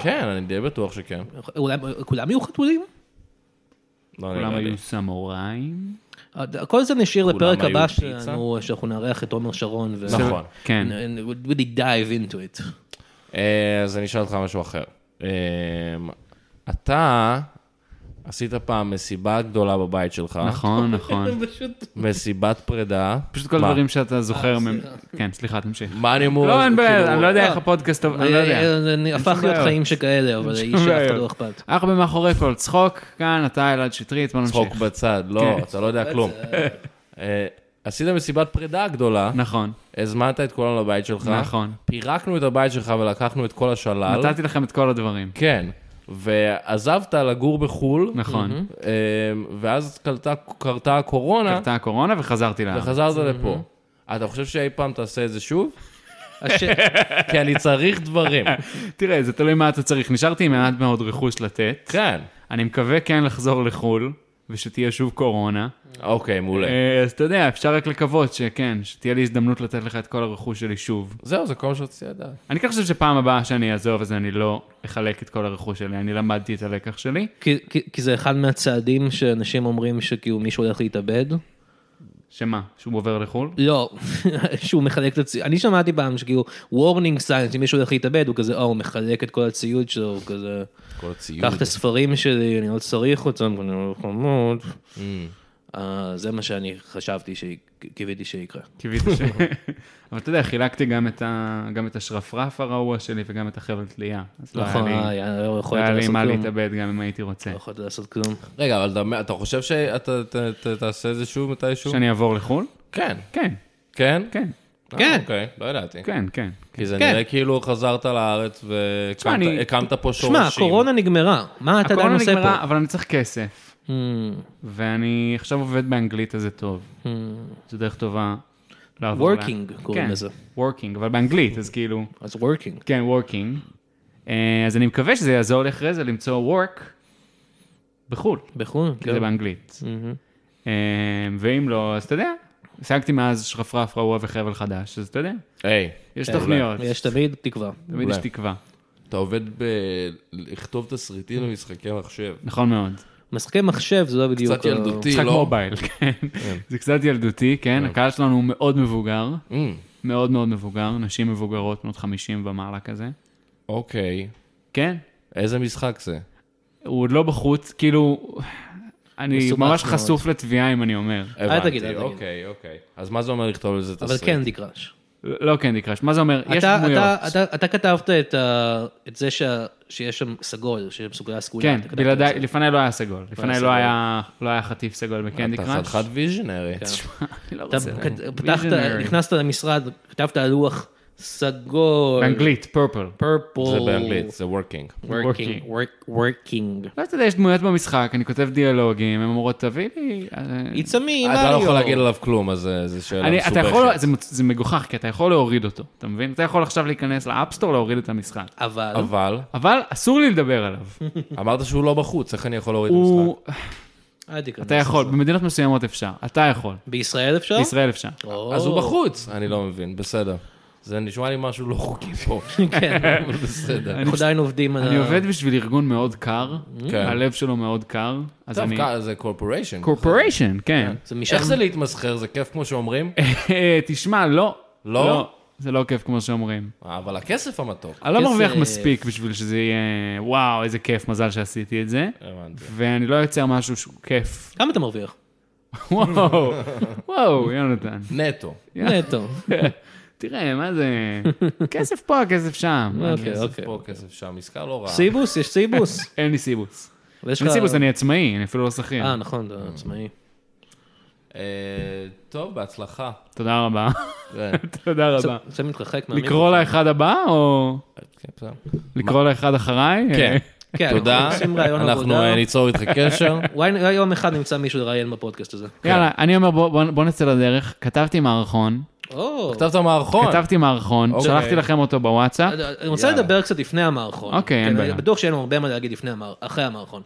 [SPEAKER 2] כן, אני די בטוח שכן.
[SPEAKER 3] אולי כולם יהיו חתולים?
[SPEAKER 2] לא
[SPEAKER 4] כולם
[SPEAKER 2] נראה לי.
[SPEAKER 4] היו סמוראים?
[SPEAKER 3] כל זה נשאיר לפרק
[SPEAKER 2] היו
[SPEAKER 3] הבא
[SPEAKER 2] פיצה?
[SPEAKER 3] שלנו, שאנחנו נארח את עומר שרון. ו-
[SPEAKER 2] נכון.
[SPEAKER 4] כן.
[SPEAKER 3] And we'll really dive into it.
[SPEAKER 2] אה, אז אני אשאל אותך משהו אחר. אה, אתה עשית פעם מסיבה גדולה בבית שלך.
[SPEAKER 4] נכון, נכון.
[SPEAKER 2] מסיבת פרידה.
[SPEAKER 4] פשוט כל
[SPEAKER 2] מה?
[SPEAKER 4] הדברים שאתה זוכר מהם... כן, סליחה, תמשיך.
[SPEAKER 2] מה אני אמור...
[SPEAKER 4] לא,
[SPEAKER 2] כאילו-
[SPEAKER 4] אין בעיה, אני לא יודע איך הפודקאסט... טוב, אני לא יודע.
[SPEAKER 3] אה, אני- הפך להיות
[SPEAKER 4] בעיות.
[SPEAKER 3] חיים שכאלה, אבל איש
[SPEAKER 4] שום
[SPEAKER 3] שאף אחד
[SPEAKER 4] בעיות.
[SPEAKER 3] לא אכפת.
[SPEAKER 4] אנחנו במאחורי כל צחוק, כאן אתה אלעד שטרית, בוא נמשיך.
[SPEAKER 2] צחוק בצד, לא,
[SPEAKER 4] כן.
[SPEAKER 2] אתה לא יודע כלום. אה, עשית מסיבת פרידה גדולה,
[SPEAKER 4] נכון,
[SPEAKER 2] הזמנת את כולם לבית שלך,
[SPEAKER 4] נכון.
[SPEAKER 2] פירקנו את הבית שלך ולקחנו את כל השלל,
[SPEAKER 4] נתתי לכם את כל הדברים.
[SPEAKER 2] כן, ועזבת לגור בחו"ל,
[SPEAKER 4] נכון.
[SPEAKER 2] אה, ואז קלטה- קרתה הקורונה,
[SPEAKER 4] קרתה הקורונה וחזרתי לארץ.
[SPEAKER 2] וחזרת לפה. אתה חושב שאי פעם תעשה את זה שוב?
[SPEAKER 3] הש-
[SPEAKER 2] כי אני צריך דברים.
[SPEAKER 4] תראה, זה תלוי מה אתה צריך. נשארתי עם מעט מאוד רכוש לתת.
[SPEAKER 2] כן.
[SPEAKER 4] אני מקווה כן לחזור לחו"ל, ושתהיה שוב קורונה.
[SPEAKER 2] אוקיי, מעולה.
[SPEAKER 4] אה, אז אתה יודע, אפשר רק לקוות שכן, שתהיה לי הזדמנות לתת לך את כל הרכוש שלי שוב.
[SPEAKER 2] זהו, זה כל מה שרציתי לדעת.
[SPEAKER 4] אני כן חושב שפעם הבאה שאני אעזוב, אז אני לא אחלק את כל הרכוש שלי, אני למדתי את הלקח שלי.
[SPEAKER 3] כי- כי- כי זה אחד מהצעדים שאנשים אומרים שכאילו מישהו הולך להתאבד.
[SPEAKER 4] שמה, שהוא עובר לחו"ל?
[SPEAKER 3] לא, שהוא מחלק את הציוד. אני שמעתי פעם שכאילו וורנינג סיינס, אם מישהו הולך להתאבד, הוא כזה, או, הוא מחלק את כל הציוד שלו, הוא כזה,
[SPEAKER 2] כל הציוד.
[SPEAKER 3] קח את הספרים שלי, אני לא צריך אותם, אני לא חמוד.
[SPEAKER 4] Mm.
[SPEAKER 3] אה, זה מה שאני חשבתי, שיק- קיוויתי שיקרה.
[SPEAKER 4] קיוויתי ש... אבל אתה יודע, חילקתי גם את, ה... גם את השרפרף הרעוע שלי וגם את החבל תלייה. אז
[SPEAKER 3] נכון,
[SPEAKER 4] לא היה לי,
[SPEAKER 3] היה- לא
[SPEAKER 4] לא
[SPEAKER 3] יכולת
[SPEAKER 4] היה לי
[SPEAKER 3] לעשות
[SPEAKER 4] מה
[SPEAKER 3] כלום.
[SPEAKER 4] להתאבד גם אם הייתי רוצה.
[SPEAKER 3] לא יכולת לעשות כלום.
[SPEAKER 2] רגע, אבל אתה- אתה חושב שאתה ת- ת- תעשה את זה שוב מתישהו?
[SPEAKER 4] שאני אעבור לחו"ל?
[SPEAKER 2] כן.
[SPEAKER 4] כן,
[SPEAKER 2] כן?
[SPEAKER 4] כן.
[SPEAKER 3] כן.
[SPEAKER 2] אה, אוקיי, לא ידעתי.
[SPEAKER 4] כן, כן.
[SPEAKER 2] כי זה
[SPEAKER 3] כן.
[SPEAKER 2] נראה כאילו חזרת לארץ
[SPEAKER 4] תשמע, אני-
[SPEAKER 2] והקמת פה שורשים.
[SPEAKER 3] שמע, הקורונה נגמרה, מה אתה עדיין
[SPEAKER 4] אה, הקורונה
[SPEAKER 3] עושה
[SPEAKER 4] נגמרה, אה,
[SPEAKER 3] פה?
[SPEAKER 4] אבל אני צריך כסף,
[SPEAKER 3] Hmm,
[SPEAKER 4] ואני עכשיו עובד באנגלית, אז זה טוב.
[SPEAKER 3] hmm.
[SPEAKER 4] זו דרך טובה לעבור. לה-
[SPEAKER 3] Working קוראים
[SPEAKER 4] כן,
[SPEAKER 3] לזה.
[SPEAKER 4] working, אבל באנגלית, אז כאילו,
[SPEAKER 3] אז working.
[SPEAKER 4] כן, working. אה, אז אני מקווה שזה יעזור לי אחרי זה למצוא work בחו"ל,
[SPEAKER 3] בחו"ל, כן. Mhm.
[SPEAKER 4] כי כן, זה באנגלית.
[SPEAKER 3] מהמם.
[SPEAKER 4] אה, ואם לא, אז אתה יודע, השגתי מאז שרפרף רעוע וחבל חדש, אז אתה יודע,
[SPEAKER 2] היי,
[SPEAKER 4] יש
[SPEAKER 2] אולי.
[SPEAKER 4] תוכניות,
[SPEAKER 3] יש תמיד תקווה.
[SPEAKER 4] תמיד יש
[SPEAKER 2] אולי.
[SPEAKER 4] תקווה.
[SPEAKER 2] אתה עובד בלכתוב תסריטים למשחקי מחשב.
[SPEAKER 4] נכון מאוד.
[SPEAKER 3] משחקי מחשב זה לא בדיוק...
[SPEAKER 2] קצת
[SPEAKER 3] ה-
[SPEAKER 2] ילדותי,
[SPEAKER 4] משחק
[SPEAKER 2] לא?
[SPEAKER 4] מובייל, כן. זה קצת ילדותי, כן, הקהל שלנו הוא מאוד מבוגר,
[SPEAKER 2] Mm,
[SPEAKER 4] מאוד מאוד מבוגר, נשים מבוגרות, בנות 50 ומעלה כזה.
[SPEAKER 2] אוקיי.
[SPEAKER 4] כן,
[SPEAKER 2] איזה משחק זה?
[SPEAKER 4] הוא עוד לא בחוץ, כאילו, אני
[SPEAKER 3] מסובך
[SPEAKER 4] ממש
[SPEAKER 3] מאוד.
[SPEAKER 4] חשוף לתביעה אם אני אומר.
[SPEAKER 2] הבנתי,
[SPEAKER 3] תגיד, אל תגיד.
[SPEAKER 2] אוקיי, אוקיי. אז מה זה אומר לכתוב לזה
[SPEAKER 3] אבל כן,
[SPEAKER 2] תסריט?
[SPEAKER 3] קנדי קראש.
[SPEAKER 4] לא קנדי קראש, מה זה אומר? יש
[SPEAKER 3] אתה-
[SPEAKER 4] דמויות.
[SPEAKER 3] אתה- אתה- אתה כתבת את ה- את זה שה- שיש שם סגול, שסוגלה סגולה.
[SPEAKER 4] כן,
[SPEAKER 3] אתה כתבת את
[SPEAKER 4] בלעדיי,
[SPEAKER 3] זה.
[SPEAKER 4] לפניי לא היה סגול. לפניי
[SPEAKER 3] סגול.
[SPEAKER 4] לא היה לא היה חטיף סגול בקנדי
[SPEAKER 2] אתה
[SPEAKER 4] קראש.
[SPEAKER 2] חתיכת ויז'נרי.
[SPEAKER 3] כן.
[SPEAKER 4] אני לא
[SPEAKER 3] אתה
[SPEAKER 4] רוצה.
[SPEAKER 3] כת- פתחת,
[SPEAKER 4] Visionary.
[SPEAKER 3] נכנסת למשרד, כתבת על לוח סגול.
[SPEAKER 4] באנגלית, פרפל.
[SPEAKER 3] purple.
[SPEAKER 2] זה באנגלית, זה וורקינג.
[SPEAKER 3] Working. work- Working.
[SPEAKER 4] לא יודע, יש דמויות במשחק, אני כותב דיאלוגים, הן אומרות, תביא לי... אה,
[SPEAKER 3] It's a me,
[SPEAKER 2] אתה לא יכול להגיד
[SPEAKER 3] מריו.
[SPEAKER 2] עליו כלום, אז אה, זו שאלה
[SPEAKER 4] אני, אתה יכול,
[SPEAKER 2] מסובכת.
[SPEAKER 4] זה, מצ- זה מגוחך, כי אתה יכול להוריד אותו, אתה מבין? אתה יכול עכשיו להיכנס לאפסטור, להוריד את המשחק.
[SPEAKER 3] אבל,
[SPEAKER 2] אבל,
[SPEAKER 4] אבל אסור לי לדבר עליו.
[SPEAKER 2] אמרת שהוא לא בחוץ, איך אני יכול להוריד את המשחק?
[SPEAKER 4] הוא,
[SPEAKER 3] אל תיכנס.
[SPEAKER 4] אתה יכול, במדינות מסוימות אפשר, אתה יכול,
[SPEAKER 3] בישראל אפשר?
[SPEAKER 4] בישראל אפשר.
[SPEAKER 3] או.
[SPEAKER 2] אז הוא בחוץ. אני לא מבין, בסדר. זה נשמע לי משהו לא חוקי פה.
[SPEAKER 3] כן,
[SPEAKER 2] אבל בסדר.
[SPEAKER 3] אנחנו עדיין עובדים על ה...
[SPEAKER 4] אני עובד בשביל ארגון מאוד קר,
[SPEAKER 2] כן.
[SPEAKER 4] הלב שלו מאוד קר, אז
[SPEAKER 2] טוב,
[SPEAKER 4] אני...
[SPEAKER 2] כ- זה קורפוריישן.
[SPEAKER 4] קורפוריישן, כן.
[SPEAKER 3] זה משם...
[SPEAKER 2] איך זה להתמסחר? זה כיף כמו שאומרים?
[SPEAKER 4] תשמע, לא.
[SPEAKER 2] לא?
[SPEAKER 4] זה לא כיף כמו שאומרים.
[SPEAKER 2] אה, אבל הכסף המתוק.
[SPEAKER 4] אני לא
[SPEAKER 3] כסף.
[SPEAKER 4] מרוויח מספיק בשביל שזה יהיה, וואו, איזה כיף, מזל שעשיתי את זה.
[SPEAKER 2] הבנתי.
[SPEAKER 4] ואני לא יוצר משהו שהוא כיף.
[SPEAKER 3] כמה אתה מרוויח?
[SPEAKER 4] וואו, וואו, יונתן.
[SPEAKER 2] נטו.
[SPEAKER 3] נטו.
[SPEAKER 4] תראה, מה זה... כסף פה, כסף שם. מה זה?
[SPEAKER 3] אוקיי, אוקיי.
[SPEAKER 2] פה כסף שם, עסקה לא רעה.
[SPEAKER 3] סיבוס? יש סיבוס.
[SPEAKER 4] אין לי סיבוס.
[SPEAKER 3] אבל יש
[SPEAKER 4] אין
[SPEAKER 3] לך-
[SPEAKER 4] לי סיבוס, אני עצמאי, אני אפילו לא שכיר.
[SPEAKER 3] אה, נכון, אתה עצמאי.
[SPEAKER 2] אה, טוב, בהצלחה.
[SPEAKER 4] תודה רבה.
[SPEAKER 2] כן,
[SPEAKER 4] תודה רבה.
[SPEAKER 3] קצת מתרחק מהמיקרופון.
[SPEAKER 4] לקרוא לאחד הבא, או
[SPEAKER 2] כן, בסדר.
[SPEAKER 4] לקרוא לאחד אחריי?
[SPEAKER 2] כן,
[SPEAKER 3] כן,
[SPEAKER 2] תודה.
[SPEAKER 3] אנחנו עושים רעיון
[SPEAKER 2] אנחנו
[SPEAKER 3] עבודה.
[SPEAKER 2] אה, ניצור איתך קשר.
[SPEAKER 3] וואי, אולי יום אחד נמצא מישהו לראיין בפודקאסט הזה.
[SPEAKER 4] יאללה, אני אומר, בוא- בוא- בוא נצא לדרך. כתבתי מערכון,
[SPEAKER 3] או,
[SPEAKER 2] כתבת מערכון.
[SPEAKER 4] כתבתי מערכון,
[SPEAKER 2] אוקיי.
[SPEAKER 4] שלחתי לכם אותו בוואטסאפ.
[SPEAKER 3] אני רוצה
[SPEAKER 2] יאללה.
[SPEAKER 3] לדבר קצת לפני המערכון.
[SPEAKER 4] אוקיי, אין
[SPEAKER 3] כן,
[SPEAKER 4] בעיה.
[SPEAKER 3] אני בטוח שאין לנו הרבה מה להגיד לפני המער- אחרי המערכון.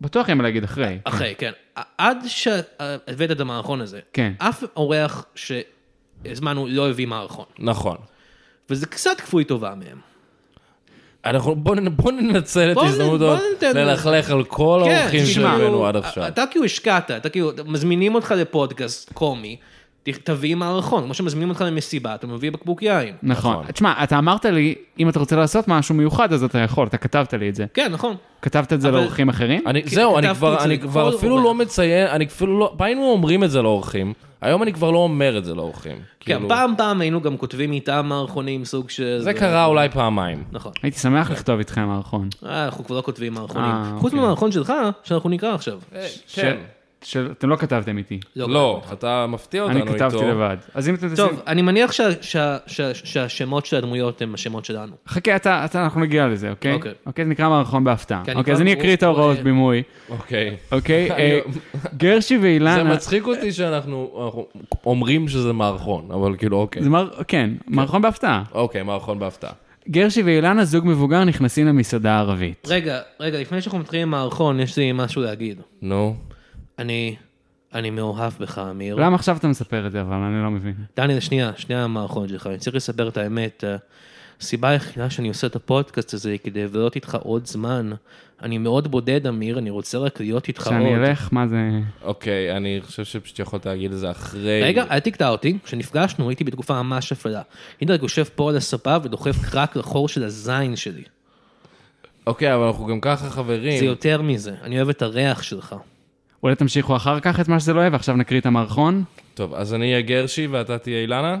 [SPEAKER 4] בטוח אין מה להגיד אחרי.
[SPEAKER 3] אחרי, כן. עד שהבאת את המערכון הזה,
[SPEAKER 4] כן.
[SPEAKER 3] אף אורח שהזמנו לא הביא מערכון.
[SPEAKER 2] נכון.
[SPEAKER 3] וזה קצת כפוי טובה מהם.
[SPEAKER 2] אנחנו, בוא נ- בוא ננצל את
[SPEAKER 3] בוא נ-
[SPEAKER 2] ההזדמנות
[SPEAKER 3] בוא
[SPEAKER 2] עוד
[SPEAKER 3] ניתן-
[SPEAKER 2] ללכלך על כל
[SPEAKER 3] כן,
[SPEAKER 2] האורחים
[SPEAKER 3] כאילו,
[SPEAKER 2] שהבאנו עד
[SPEAKER 3] א-
[SPEAKER 2] עכשיו.
[SPEAKER 3] אתה כאילו השקעת, אתה כאילו, מזמינים אותך לפודקאסט קומי, ת- תביא מערכון. כמו שמזמינים אותך למסיבה, אתה מביא בקבוק יין.
[SPEAKER 4] נכון.
[SPEAKER 2] נכון.
[SPEAKER 4] תשמע, אתה אמרת לי, אם אתה רוצה לעשות משהו מיוחד, אז אתה יכול, אתה כתבת לי את זה.
[SPEAKER 3] כן, נכון.
[SPEAKER 4] כתבת את זה
[SPEAKER 3] אבל-
[SPEAKER 4] לאורחים אחרים?
[SPEAKER 2] אני,
[SPEAKER 3] כי-
[SPEAKER 2] זהו, אני
[SPEAKER 3] כן, כתבתי את
[SPEAKER 2] כבר,
[SPEAKER 3] זה
[SPEAKER 2] אני
[SPEAKER 3] לכל
[SPEAKER 2] כבר אפילו לא
[SPEAKER 3] אורח.
[SPEAKER 2] מציין, אני אפילו לא, פעם היינו אומרים את זה לאורחים, היום אני כבר לא אומר את זה לאורחים.
[SPEAKER 3] כן,
[SPEAKER 2] כאילו,
[SPEAKER 3] פעם פעם היינו גם כותבים איתם מערכונים סוג של...
[SPEAKER 2] זה קרה אולי פעמיים.
[SPEAKER 3] נכון.
[SPEAKER 4] הייתי שמח לכתוב איתכם מערכון.
[SPEAKER 3] אה, אנחנו כבר לא כותבים
[SPEAKER 4] אה,
[SPEAKER 3] מערכונים. חוץ
[SPEAKER 4] אוקיי.
[SPEAKER 3] מהמערכון שלך, שאנחנו נקרא עכשיו.
[SPEAKER 2] כן.
[SPEAKER 4] ש-
[SPEAKER 3] כן.
[SPEAKER 4] של- אתם לא כתבתם איתי.
[SPEAKER 2] לא, אתה מפתיע אותנו
[SPEAKER 4] אני
[SPEAKER 2] איתו.
[SPEAKER 4] כתבתי לבד. אז אם אתם תשים...
[SPEAKER 3] טוב, אני מניח שה- שה- שה- שהשמות של הדמויות הם השמות שלנו.
[SPEAKER 4] חכה, אתה, אתה, אנחנו נגיע לזה, אוקיי?
[SPEAKER 3] אוקיי.
[SPEAKER 4] אוקיי, זה נקרא מערכון בהפתעה.
[SPEAKER 3] כן,
[SPEAKER 4] אוקיי,
[SPEAKER 3] נקרא
[SPEAKER 4] אז אני אקריא את ההוראות
[SPEAKER 3] אה,
[SPEAKER 4] בימוי,
[SPEAKER 2] אוקיי.
[SPEAKER 4] אוקיי? אה,
[SPEAKER 2] אני-
[SPEAKER 4] גרשי
[SPEAKER 3] אה,
[SPEAKER 2] זה
[SPEAKER 4] ואילנה...
[SPEAKER 2] מצחיק אותי שאנחנו אנחנו אומרים שזה מערכון, אבל כאילו, אוקיי.
[SPEAKER 4] זה מר... כן, מערכון בהפתעה.
[SPEAKER 2] אוקיי, מערכון בהפתעה.
[SPEAKER 4] גרשי ואילנה, זוג מבוגר, נכנסים למסעדה הערבית.
[SPEAKER 3] רגע, רגע, לפני שאנחנו מתחילים עם מערכון, יש לי משהו להגיד.
[SPEAKER 2] נו.
[SPEAKER 3] אני... אני מאוהב בך, אמיר.
[SPEAKER 4] למה עכשיו אתה מספר את זה, אבל אני לא מבין.
[SPEAKER 3] דניאל, שנייה, שנייה המערכון שלך, אני צריך לספר את האמת. אה, הסיבה היחידה שאני עושה את הפודקאסט הזה היא כדי לבלות איתך עוד זמן. אני מאוד בודד, אמיר, אני רוצה רק להיות איתך עוד.
[SPEAKER 4] כשאני אלך, מה זה...
[SPEAKER 2] אוקיי, אני חושב שפשוט יכולת להגיד את זה אחרי...
[SPEAKER 3] רגע, אל תקטע אותי, כשנפגשנו הייתי בתקופה ממש אפלה. הידרג יושב פה על הספה ודוחף קרק לחור של הזין שלי.
[SPEAKER 2] אוקיי, אבל אנחנו גם ככה חברים.
[SPEAKER 3] זה יותר מזה, אני אוהב את הריח שלך.
[SPEAKER 4] אולי תמשיכו אחר כך את מה שזה לא אוהב, ועכשיו נקריא את המערכון?
[SPEAKER 2] טוב, אז אני אהיה גרשי ואתה תהיה אילנה?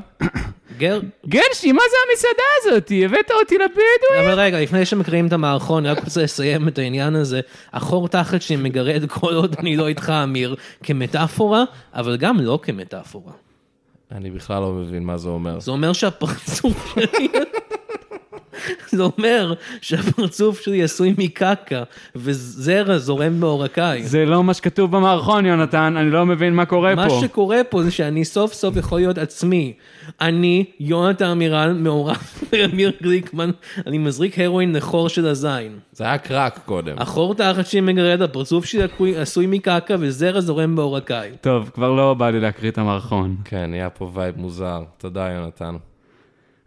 [SPEAKER 3] גר,
[SPEAKER 4] גרשי, מה זה המסעדה הזאת? הבאת אותי לבדואים?
[SPEAKER 3] אבל רגע, לפני שמקריאים את המערכון, אני רק רוצה לסיים את העניין הזה. החור תחת שלי מגרד כל עוד אני לא איתך, אמיר, כמטאפורה, אבל גם לא כמטאפורה.
[SPEAKER 2] אני בכלל לא מבין מה זה אומר.
[SPEAKER 3] זה אומר שהפרצוף שלי... זה אומר שהפרצוף שלי עשוי מקקה, וזרע זורם מעורקיי.
[SPEAKER 4] זה לא מה שכתוב במערכון, יונתן, אני לא מבין מה קורה
[SPEAKER 3] מה
[SPEAKER 4] פה.
[SPEAKER 3] שקורה פה זה שאני סוף סוף יכול להיות עצמי. אני, יונתן עמירן, מעורב באמיר גליקמן, אני מזריק הרואין לחור של הזין.
[SPEAKER 2] זה היה קרק קודם.
[SPEAKER 3] החור תחת שלי מגרד, הפרצוף שלי עקוי- עשוי מקקה, וזרע זורם בעורקיי.
[SPEAKER 4] טוב, כבר לא בא לי להקריא את המערכון.
[SPEAKER 2] כן, נהיה פה וייב מוזר. תודה, יונתן.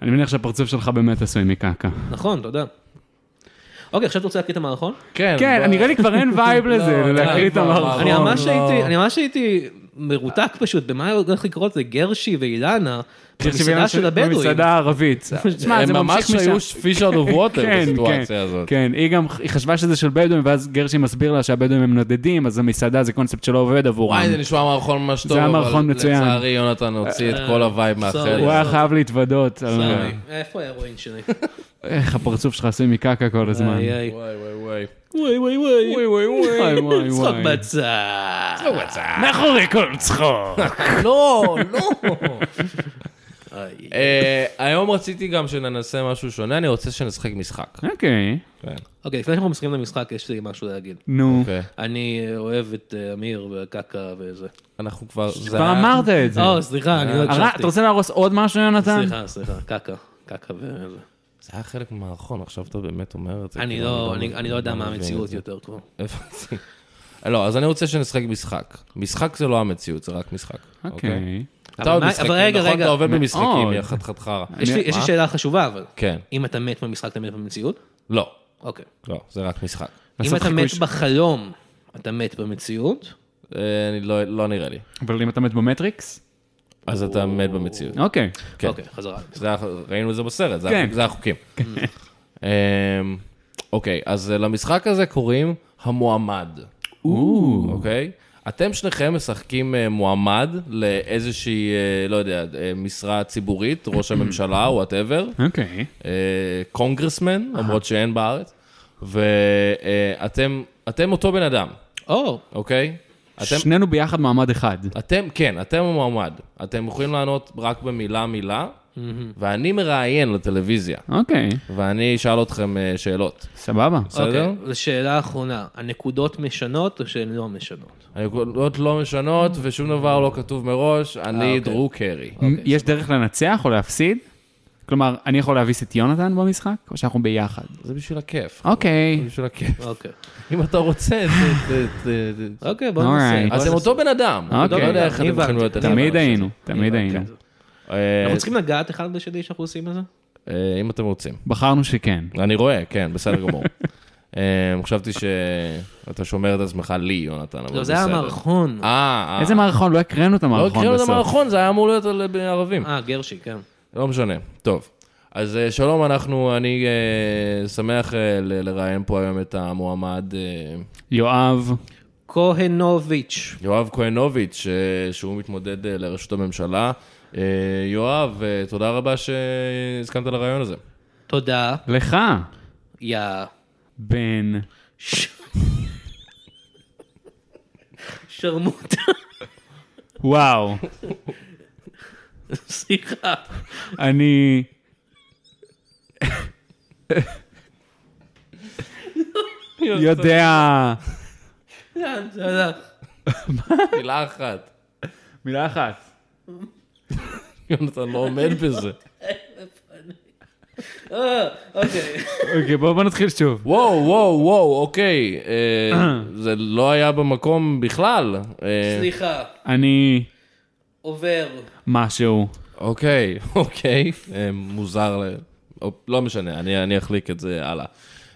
[SPEAKER 4] אני מניח שהפרצוף שלך באמת עשוי מקקה.
[SPEAKER 3] נכון, תודה. אוקיי, עכשיו אתה רוצה להקריא את המערכון?
[SPEAKER 2] כן,
[SPEAKER 4] כן,
[SPEAKER 2] בוא-
[SPEAKER 4] נראה לי כבר אין וייב לזה,
[SPEAKER 2] לא,
[SPEAKER 4] להקריא
[SPEAKER 2] די,
[SPEAKER 4] את
[SPEAKER 2] כבר,
[SPEAKER 4] המערכון.
[SPEAKER 3] אני ממש
[SPEAKER 2] לא.
[SPEAKER 3] הייתי, אני ממש הייתי מרותק פשוט, במה הולך לקרות לגרשי ואילנה, במסעדה של הבדואים.
[SPEAKER 4] במסעדה הערבית. תשמע,
[SPEAKER 2] הם
[SPEAKER 4] זה
[SPEAKER 2] ממש
[SPEAKER 4] ממשיך משם.
[SPEAKER 2] היו פישר דו ווטר
[SPEAKER 4] כן,
[SPEAKER 2] בסיטואציה
[SPEAKER 4] כן,
[SPEAKER 2] הזאת.
[SPEAKER 4] כן, היא גם, היא חשבה שזה של בדואים, ואז גרשי מסביר לה שהבדואים הם נודדים, אז המסעדה זה קונספט שלא עובד עבורם.
[SPEAKER 2] וואי, זה נשמע מערכון ממש טוב,
[SPEAKER 4] זה היה
[SPEAKER 2] אבל
[SPEAKER 4] מערכון מצוין.
[SPEAKER 2] לצערי, יונתן הוציא את כל הווייב מהחלק.
[SPEAKER 4] הוא היה חייב להתוודות, על-
[SPEAKER 3] סורי, אה, איפה ההרואין שלי?
[SPEAKER 4] איך הפרצוף שלך עשוי מקקה כל הזמן.
[SPEAKER 3] איי, איי.
[SPEAKER 2] וואי, וואי, וואי.
[SPEAKER 3] וואי וואי וואי.
[SPEAKER 4] וואי וואי וואי אה,
[SPEAKER 3] צחוק
[SPEAKER 4] וואי. אה.
[SPEAKER 3] בצד.
[SPEAKER 4] מאחורי כל צחוק.
[SPEAKER 2] לא, לא.
[SPEAKER 3] איי.
[SPEAKER 2] אה, היום רציתי גם שננסה משהו שונה, אני רוצה שנשחק משחק.
[SPEAKER 4] אוקיי,
[SPEAKER 2] כן.
[SPEAKER 3] אוקיי, לפני שאנחנו מסכימים למשחק, יש לי משהו להגיד.
[SPEAKER 4] נו.
[SPEAKER 2] אוקיי.
[SPEAKER 3] אני אוהב את אה, אמיר וקקה וזה.
[SPEAKER 2] אנחנו כבר... זה
[SPEAKER 4] כבר
[SPEAKER 2] היה- אה,
[SPEAKER 4] אמרת את זה.
[SPEAKER 3] או, סליחה, אני לא
[SPEAKER 4] הר-
[SPEAKER 3] הקשבתי.
[SPEAKER 4] אתה רוצה להרוס עוד משהו, יונתן?
[SPEAKER 3] סליחה, סליחה, קקה. קקה וזה.
[SPEAKER 2] זה היה חלק מהמערכון, עכשיו אתה באמת אומר את זה.
[SPEAKER 3] אני
[SPEAKER 2] כאילו,
[SPEAKER 3] לא, אני- אני לא יודע מה
[SPEAKER 2] מבין את
[SPEAKER 3] המציאות
[SPEAKER 2] זה.
[SPEAKER 3] יותר כבר.
[SPEAKER 2] הבנתי. לא, אז אני רוצה שנשחק משחק. משחק זה לא המציאות, זה רק משחק.
[SPEAKER 4] אוקיי.
[SPEAKER 2] אתה עוד
[SPEAKER 3] מה-
[SPEAKER 2] משחקים,
[SPEAKER 3] אבל רגע,
[SPEAKER 2] נכון?
[SPEAKER 3] רגע.
[SPEAKER 2] אתה עובד במשחקים,
[SPEAKER 4] מאוד.
[SPEAKER 2] יא חתיכת חרא.
[SPEAKER 3] יש לי יש לי
[SPEAKER 2] מה?
[SPEAKER 3] שאלה חשובה, אבל.
[SPEAKER 2] כן.
[SPEAKER 3] אם אתה מת במשחק, אתה מת במציאות?
[SPEAKER 2] לא,
[SPEAKER 3] אוקיי.
[SPEAKER 2] לא, זה רק משחק.
[SPEAKER 3] אם
[SPEAKER 4] לעשות
[SPEAKER 3] אתה
[SPEAKER 4] חיקוי
[SPEAKER 3] מת
[SPEAKER 4] ש-
[SPEAKER 3] בחלום, אתה מת במציאות?
[SPEAKER 2] אה, אני לא- לא נראה לי.
[SPEAKER 4] אבל אם אתה מת במטריקס?
[SPEAKER 2] אז אתה מת במציאות.
[SPEAKER 4] אוקיי.
[SPEAKER 2] כן.
[SPEAKER 3] אוקיי, חזרה.
[SPEAKER 2] זה היה- ראינו את זה בסרט, זה
[SPEAKER 4] כן.
[SPEAKER 2] זה החוקים. אמ, אוקיי, אז אה, למשחק הזה קוראים המועמד, אוקיי? אתם שניכם משחקים אה, מועמד לאיזושהי, אה, לא יודע, אה, משרה ציבורית, ראש הממשלה, וואטאבר.
[SPEAKER 4] אוקיי.
[SPEAKER 2] אה, קונגרסמן, למרות שאין בארץ, ואתם אתם אותו בן אדם,
[SPEAKER 3] או,
[SPEAKER 2] אוקיי? אתם,
[SPEAKER 4] שנינו ביחד מעמד אחד.
[SPEAKER 2] אתם, כן, אתם המועמד. אתם יכולים לענות רק במילה-מילה, ואני מראיין לטלוויזיה,
[SPEAKER 4] אוקיי.
[SPEAKER 2] ואני אשאל אתכם אה, שאלות,
[SPEAKER 4] סבבה.
[SPEAKER 2] בסדר?
[SPEAKER 3] אוקיי, זו שאלה אחרונה, הנקודות משנות או שהן לא משנות?
[SPEAKER 2] הנקודות לא משנות ושום דבר לא כתוב מראש, אני
[SPEAKER 3] אוקיי.
[SPEAKER 2] דרו קרי.
[SPEAKER 4] יש דרך לנצח או להפסיד? כלומר, אני יכול להביס את יונתן במשחק, או שאנחנו ביחד?
[SPEAKER 2] זה בשביל הכיף.
[SPEAKER 4] אוקיי.
[SPEAKER 2] זה בשביל הכיף.
[SPEAKER 3] אוקיי,
[SPEAKER 2] אם אתה רוצה, ת- ת- ת- ת-
[SPEAKER 3] אוקיי, בוא
[SPEAKER 4] Alright.
[SPEAKER 3] ננסה.
[SPEAKER 2] אתם
[SPEAKER 3] בוא ננסה.
[SPEAKER 2] אותו בן אדם. אני לא
[SPEAKER 4] אוקיי.
[SPEAKER 2] יודע איך
[SPEAKER 3] אני
[SPEAKER 2] אתם יכולים
[SPEAKER 3] הבנתי,
[SPEAKER 2] להיות...
[SPEAKER 3] אני
[SPEAKER 4] תמיד
[SPEAKER 3] הבנתי.
[SPEAKER 4] היינו, תמיד
[SPEAKER 3] הבנתי.
[SPEAKER 4] היינו. לא,
[SPEAKER 2] אה,
[SPEAKER 3] אנחנו צריכים לגעת אחד בשני שאנחנו עושים את זה?
[SPEAKER 2] אה, אם אתם רוצים.
[SPEAKER 4] בחרנו שכן.
[SPEAKER 2] אני רואה, כן, בסדר גמור. אה, חשבתי שאתה שומר את עצמך לי, יונתן, אבל בסדר.
[SPEAKER 3] לא, זה היה המערכון.
[SPEAKER 2] אה, אה.
[SPEAKER 4] איזה מערכון? לא הקראנו את
[SPEAKER 2] לא
[SPEAKER 4] המערכון
[SPEAKER 2] הקראנו את
[SPEAKER 4] בסוף.
[SPEAKER 2] המערכון, זה היה אמור להיות על ערבים.
[SPEAKER 3] אה, גרשי, כן.
[SPEAKER 2] לא משנה. טוב. אז אה, שלום, אנחנו, אני אה, שמח אה, ל- לראיין פה היום את המועמד אה,
[SPEAKER 4] יואב.
[SPEAKER 3] כהנוביץ'.
[SPEAKER 2] יואב כהנוביץ', אה, שהוא מתמודד אה, לראשות הממשלה. אה, יואב, אה, תודה רבה שהסכמת לרעיון הזה.
[SPEAKER 3] תודה,
[SPEAKER 4] לך.
[SPEAKER 3] יא...
[SPEAKER 4] בן.
[SPEAKER 3] ש- שרמוטה,
[SPEAKER 4] וואו.
[SPEAKER 3] סליחה.
[SPEAKER 4] אני... יודע...
[SPEAKER 3] לאן זה הלך?
[SPEAKER 2] מילה אחת.
[SPEAKER 4] מילה אחת.
[SPEAKER 2] יונתן לא עומד בזה.
[SPEAKER 3] אה, אוקיי.
[SPEAKER 4] אוקיי, בואו נתחיל שוב.
[SPEAKER 2] וואו, וואו, וואו, אוקיי. אה, זה לא היה במקום בכלל. אה,
[SPEAKER 3] סליחה,
[SPEAKER 4] אני...
[SPEAKER 3] עובר.
[SPEAKER 4] משהו.
[SPEAKER 2] אוקיי, אוקיי. אה, מוזר ל... או- לא משנה, אני אני אחליק את זה הלאה.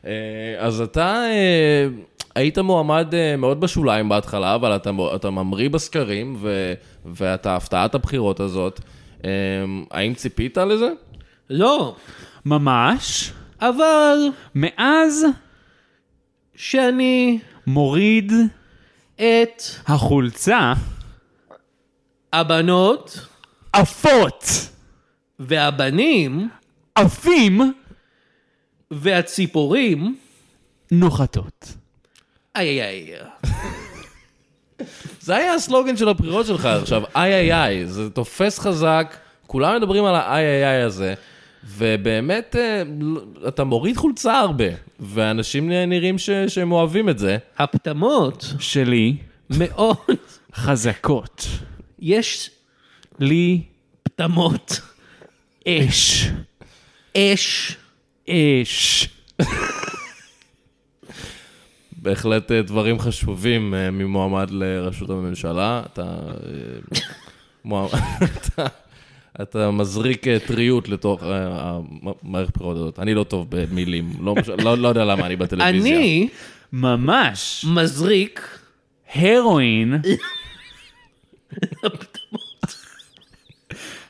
[SPEAKER 2] אה, אז אתה אה, היית מועמד אה, מאוד בשוליים בהתחלה, אבל אתה מ- אתה ממריא בסקרים, ו- ואתה הפתעת הבחירות הזאת. אה, האם ציפית לזה?
[SPEAKER 3] לא,
[SPEAKER 4] ממש.
[SPEAKER 3] אבל
[SPEAKER 4] מאז
[SPEAKER 3] שאני
[SPEAKER 4] מוריד
[SPEAKER 3] את
[SPEAKER 4] החולצה
[SPEAKER 3] הבנות
[SPEAKER 4] עפות,
[SPEAKER 3] והבנים
[SPEAKER 4] עפים,
[SPEAKER 3] והציפורים,
[SPEAKER 4] נוחתות.
[SPEAKER 3] איי איי איי,
[SPEAKER 2] זה היה הסלוגן של הבחירות שלך עכשיו, איי איי איי, זה תופס חזק, כולם מדברים על האיי איי איי הזה, ובאמת, אה, לא- אתה מוריד חולצה הרבה, ואנשים נראים ש- שהם אוהבים את זה.
[SPEAKER 3] הפטמות
[SPEAKER 4] שלי
[SPEAKER 3] מאוד,
[SPEAKER 4] חזקות.
[SPEAKER 3] יש
[SPEAKER 4] לי
[SPEAKER 3] פטמות,
[SPEAKER 4] אש.
[SPEAKER 3] אש,
[SPEAKER 4] אש.
[SPEAKER 2] בהחלט אה, דברים חשובים אה, ממועמד לראשות הממשלה. אתה, אה, מועמד, אתה, אתה מזריק אה, טריות לתוך אה, המ- מערכת הבחירות הזאת. אני לא טוב במילים, לא, מש- לא, לא יודע למה אני בטלוויזיה.
[SPEAKER 3] אני
[SPEAKER 4] ממש.
[SPEAKER 3] מזריק,
[SPEAKER 4] הרואין.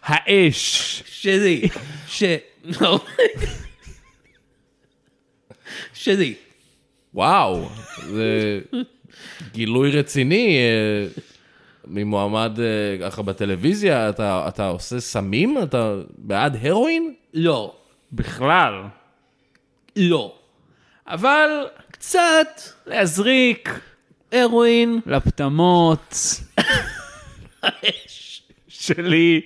[SPEAKER 4] האש.
[SPEAKER 3] שלי, ש... לא. שלי,
[SPEAKER 2] וואו, זה גילוי רציני. אה, ממועמד, אה, ככה בטלוויזיה, אתה, אתה עושה סמים? אתה בעד הרואין?
[SPEAKER 3] לא,
[SPEAKER 4] בכלל.
[SPEAKER 3] לא,
[SPEAKER 4] אבל
[SPEAKER 3] קצת
[SPEAKER 4] להזריק
[SPEAKER 3] הרואין,
[SPEAKER 4] לפטמות
[SPEAKER 3] אש,
[SPEAKER 4] שלי.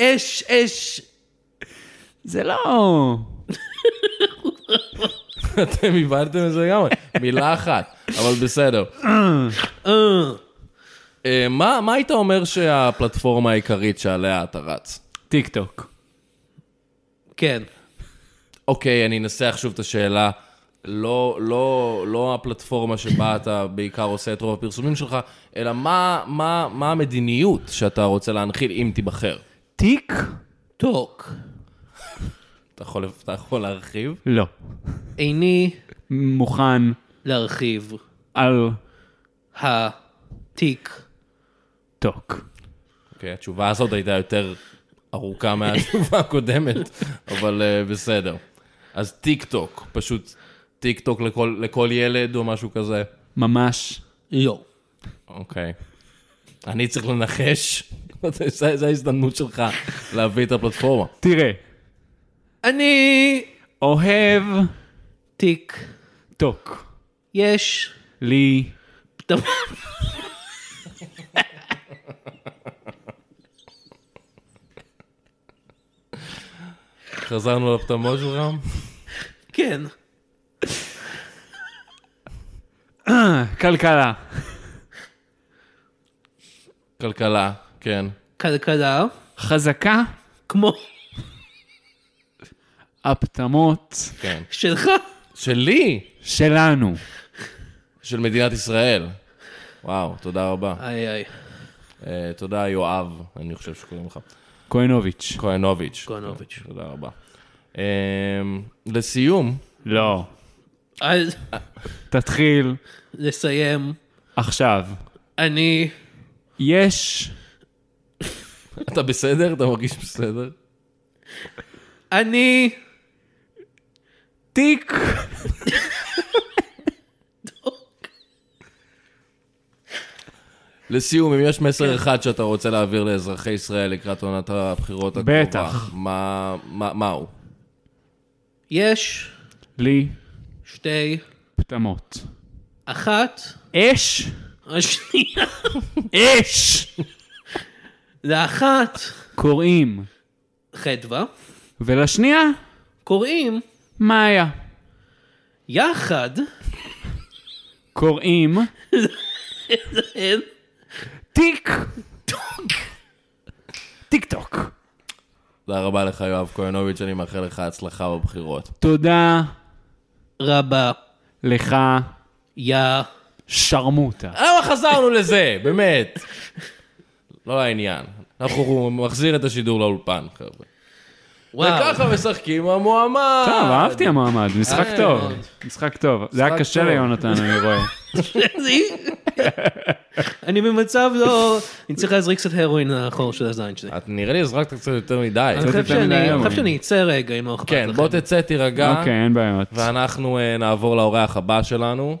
[SPEAKER 3] אש, אש,
[SPEAKER 4] זה לא...
[SPEAKER 2] אתם איבדתם את זה לגמרי, מילה אחת, אבל בסדר.
[SPEAKER 3] אה,
[SPEAKER 2] אה, מה, מה היית אומר שהפלטפורמה העיקרית שעליה אתה רץ?
[SPEAKER 4] טיק טוק.
[SPEAKER 3] כן,
[SPEAKER 2] אוקיי, אני אנסח שוב את השאלה. לא, לא, לא הפלטפורמה שבה אתה בעיקר עושה את רוב הפרסומים שלך, אלא מה, מה, מה המדיניות שאתה רוצה להנחיל אם תיבחר.
[SPEAKER 4] טיק?
[SPEAKER 3] טוק,
[SPEAKER 2] אתה יכול, אתה יכול להרחיב?
[SPEAKER 4] לא.
[SPEAKER 3] איני
[SPEAKER 4] מוכן
[SPEAKER 3] להרחיב
[SPEAKER 4] על
[SPEAKER 3] התיק,
[SPEAKER 4] טוק.
[SPEAKER 2] אוקיי, התשובה הזאת הייתה יותר ארוכה מהתשובה הקודמת, אבל אה, בסדר. אז טיק טוק, פשוט טיק טוק לכל, לכל ילד או משהו כזה.
[SPEAKER 4] ממש
[SPEAKER 3] לא,
[SPEAKER 2] אוקיי. אני צריך לנחש? זה- זה ההזדמנות שלך להביא את הפלטפורמה.
[SPEAKER 4] תראה,
[SPEAKER 3] אני
[SPEAKER 4] אוהב
[SPEAKER 3] תיק,
[SPEAKER 4] טוק.
[SPEAKER 3] יש
[SPEAKER 4] לי
[SPEAKER 3] פטמות,
[SPEAKER 2] חזרנו לפטמות שלך?
[SPEAKER 3] כן,
[SPEAKER 4] כלכלה.
[SPEAKER 2] כלכלה, כן.
[SPEAKER 3] כלכלה,
[SPEAKER 4] חזקה,
[SPEAKER 3] כמו
[SPEAKER 4] הפטמות
[SPEAKER 2] כן.
[SPEAKER 3] שלך,
[SPEAKER 2] שלי!
[SPEAKER 4] שלנו.
[SPEAKER 2] של מדינת ישראל. וואו, תודה רבה.
[SPEAKER 3] איי איי,
[SPEAKER 2] אה, תודה, יואב, אני חושב שקוראים לך.
[SPEAKER 4] כהנוביץ'.
[SPEAKER 2] כהנוביץ'.
[SPEAKER 3] כהנוביץ'.
[SPEAKER 2] תודה רבה. אה, לסיום,
[SPEAKER 4] לא.
[SPEAKER 3] אז
[SPEAKER 4] תתחיל
[SPEAKER 3] לסיים,
[SPEAKER 4] עכשיו.
[SPEAKER 3] אני
[SPEAKER 4] יש
[SPEAKER 2] אתה בסדר? אתה מרגיש בסדר?
[SPEAKER 3] אני
[SPEAKER 4] תיק
[SPEAKER 2] לסיום, אם יש מסר אחד שאתה רוצה להעביר לאזרחי ישראל לקראת עונת הבחירות הקרובה,
[SPEAKER 4] בטח.
[SPEAKER 2] מה, מה, מה הוא?
[SPEAKER 3] יש
[SPEAKER 4] לי
[SPEAKER 3] שתי,
[SPEAKER 4] פטמות.
[SPEAKER 3] אחת,
[SPEAKER 4] אש,
[SPEAKER 3] השנייה,
[SPEAKER 4] אש.
[SPEAKER 3] לאחת
[SPEAKER 4] קוראים.
[SPEAKER 3] חדווה,
[SPEAKER 4] ולשנייה,
[SPEAKER 3] קוראים
[SPEAKER 4] מאיה.
[SPEAKER 3] יחד,
[SPEAKER 4] קוראים
[SPEAKER 3] הם
[SPEAKER 4] טיק טיק טוק.
[SPEAKER 2] תודה רבה לך, יואב כהנוביץ', אני מאחל לך הצלחה בבחירות.
[SPEAKER 4] תודה
[SPEAKER 3] רבה,
[SPEAKER 4] לך,
[SPEAKER 3] יא,
[SPEAKER 4] שרמוטה.
[SPEAKER 2] למה חזרנו לזה? באמת. לא העניין. אנחנו הוא מחזיר את השידור לאולפן, חבר'ה.
[SPEAKER 3] וואו,
[SPEAKER 2] וככה משחקים המועמד.
[SPEAKER 4] טוב, אהבתי המעמד, משחק
[SPEAKER 2] אה,
[SPEAKER 4] טוב.
[SPEAKER 2] מאוד.
[SPEAKER 4] משחק טוב. זה היה
[SPEAKER 2] משחק
[SPEAKER 4] קשה
[SPEAKER 2] טוב.
[SPEAKER 4] ליונתן, אני רואה.
[SPEAKER 3] אני במצב לא, אני צריך להזריק קצת הרואין לאחור של הזין שלי.
[SPEAKER 2] את נראה לי הזרקת קצת יותר מדי.
[SPEAKER 3] אני חושב
[SPEAKER 4] יותר מדי
[SPEAKER 3] שאני- אני
[SPEAKER 4] הרואין.
[SPEAKER 3] חושב שאני אצא רגע, אם לא אכפת
[SPEAKER 2] כן,
[SPEAKER 3] לכם.
[SPEAKER 2] בוא תצא, תירגע.
[SPEAKER 4] אוקיי, אין בעיות.
[SPEAKER 2] ואנחנו אה, נעבור לאורח הבא שלנו.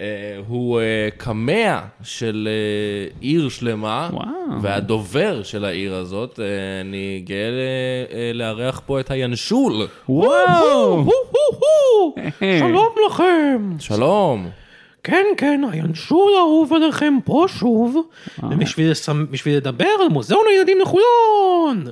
[SPEAKER 2] אה, הוא אה, קמע של אה, עיר שלמה,
[SPEAKER 4] וואו.
[SPEAKER 2] והדובר של העיר הזאת. אה, אני גאה ל- אה, לארח פה את הינשול.
[SPEAKER 4] וואו!
[SPEAKER 3] הו, הו, הו,
[SPEAKER 4] היי.
[SPEAKER 3] שלום לכם.
[SPEAKER 2] שלום. אה,
[SPEAKER 3] כן, כן, הינשול האהוב עליכם פה שוב,
[SPEAKER 2] אה.
[SPEAKER 3] ובשביל לסמ- בשביל לדבר על מוזיאון הילדים לחולון.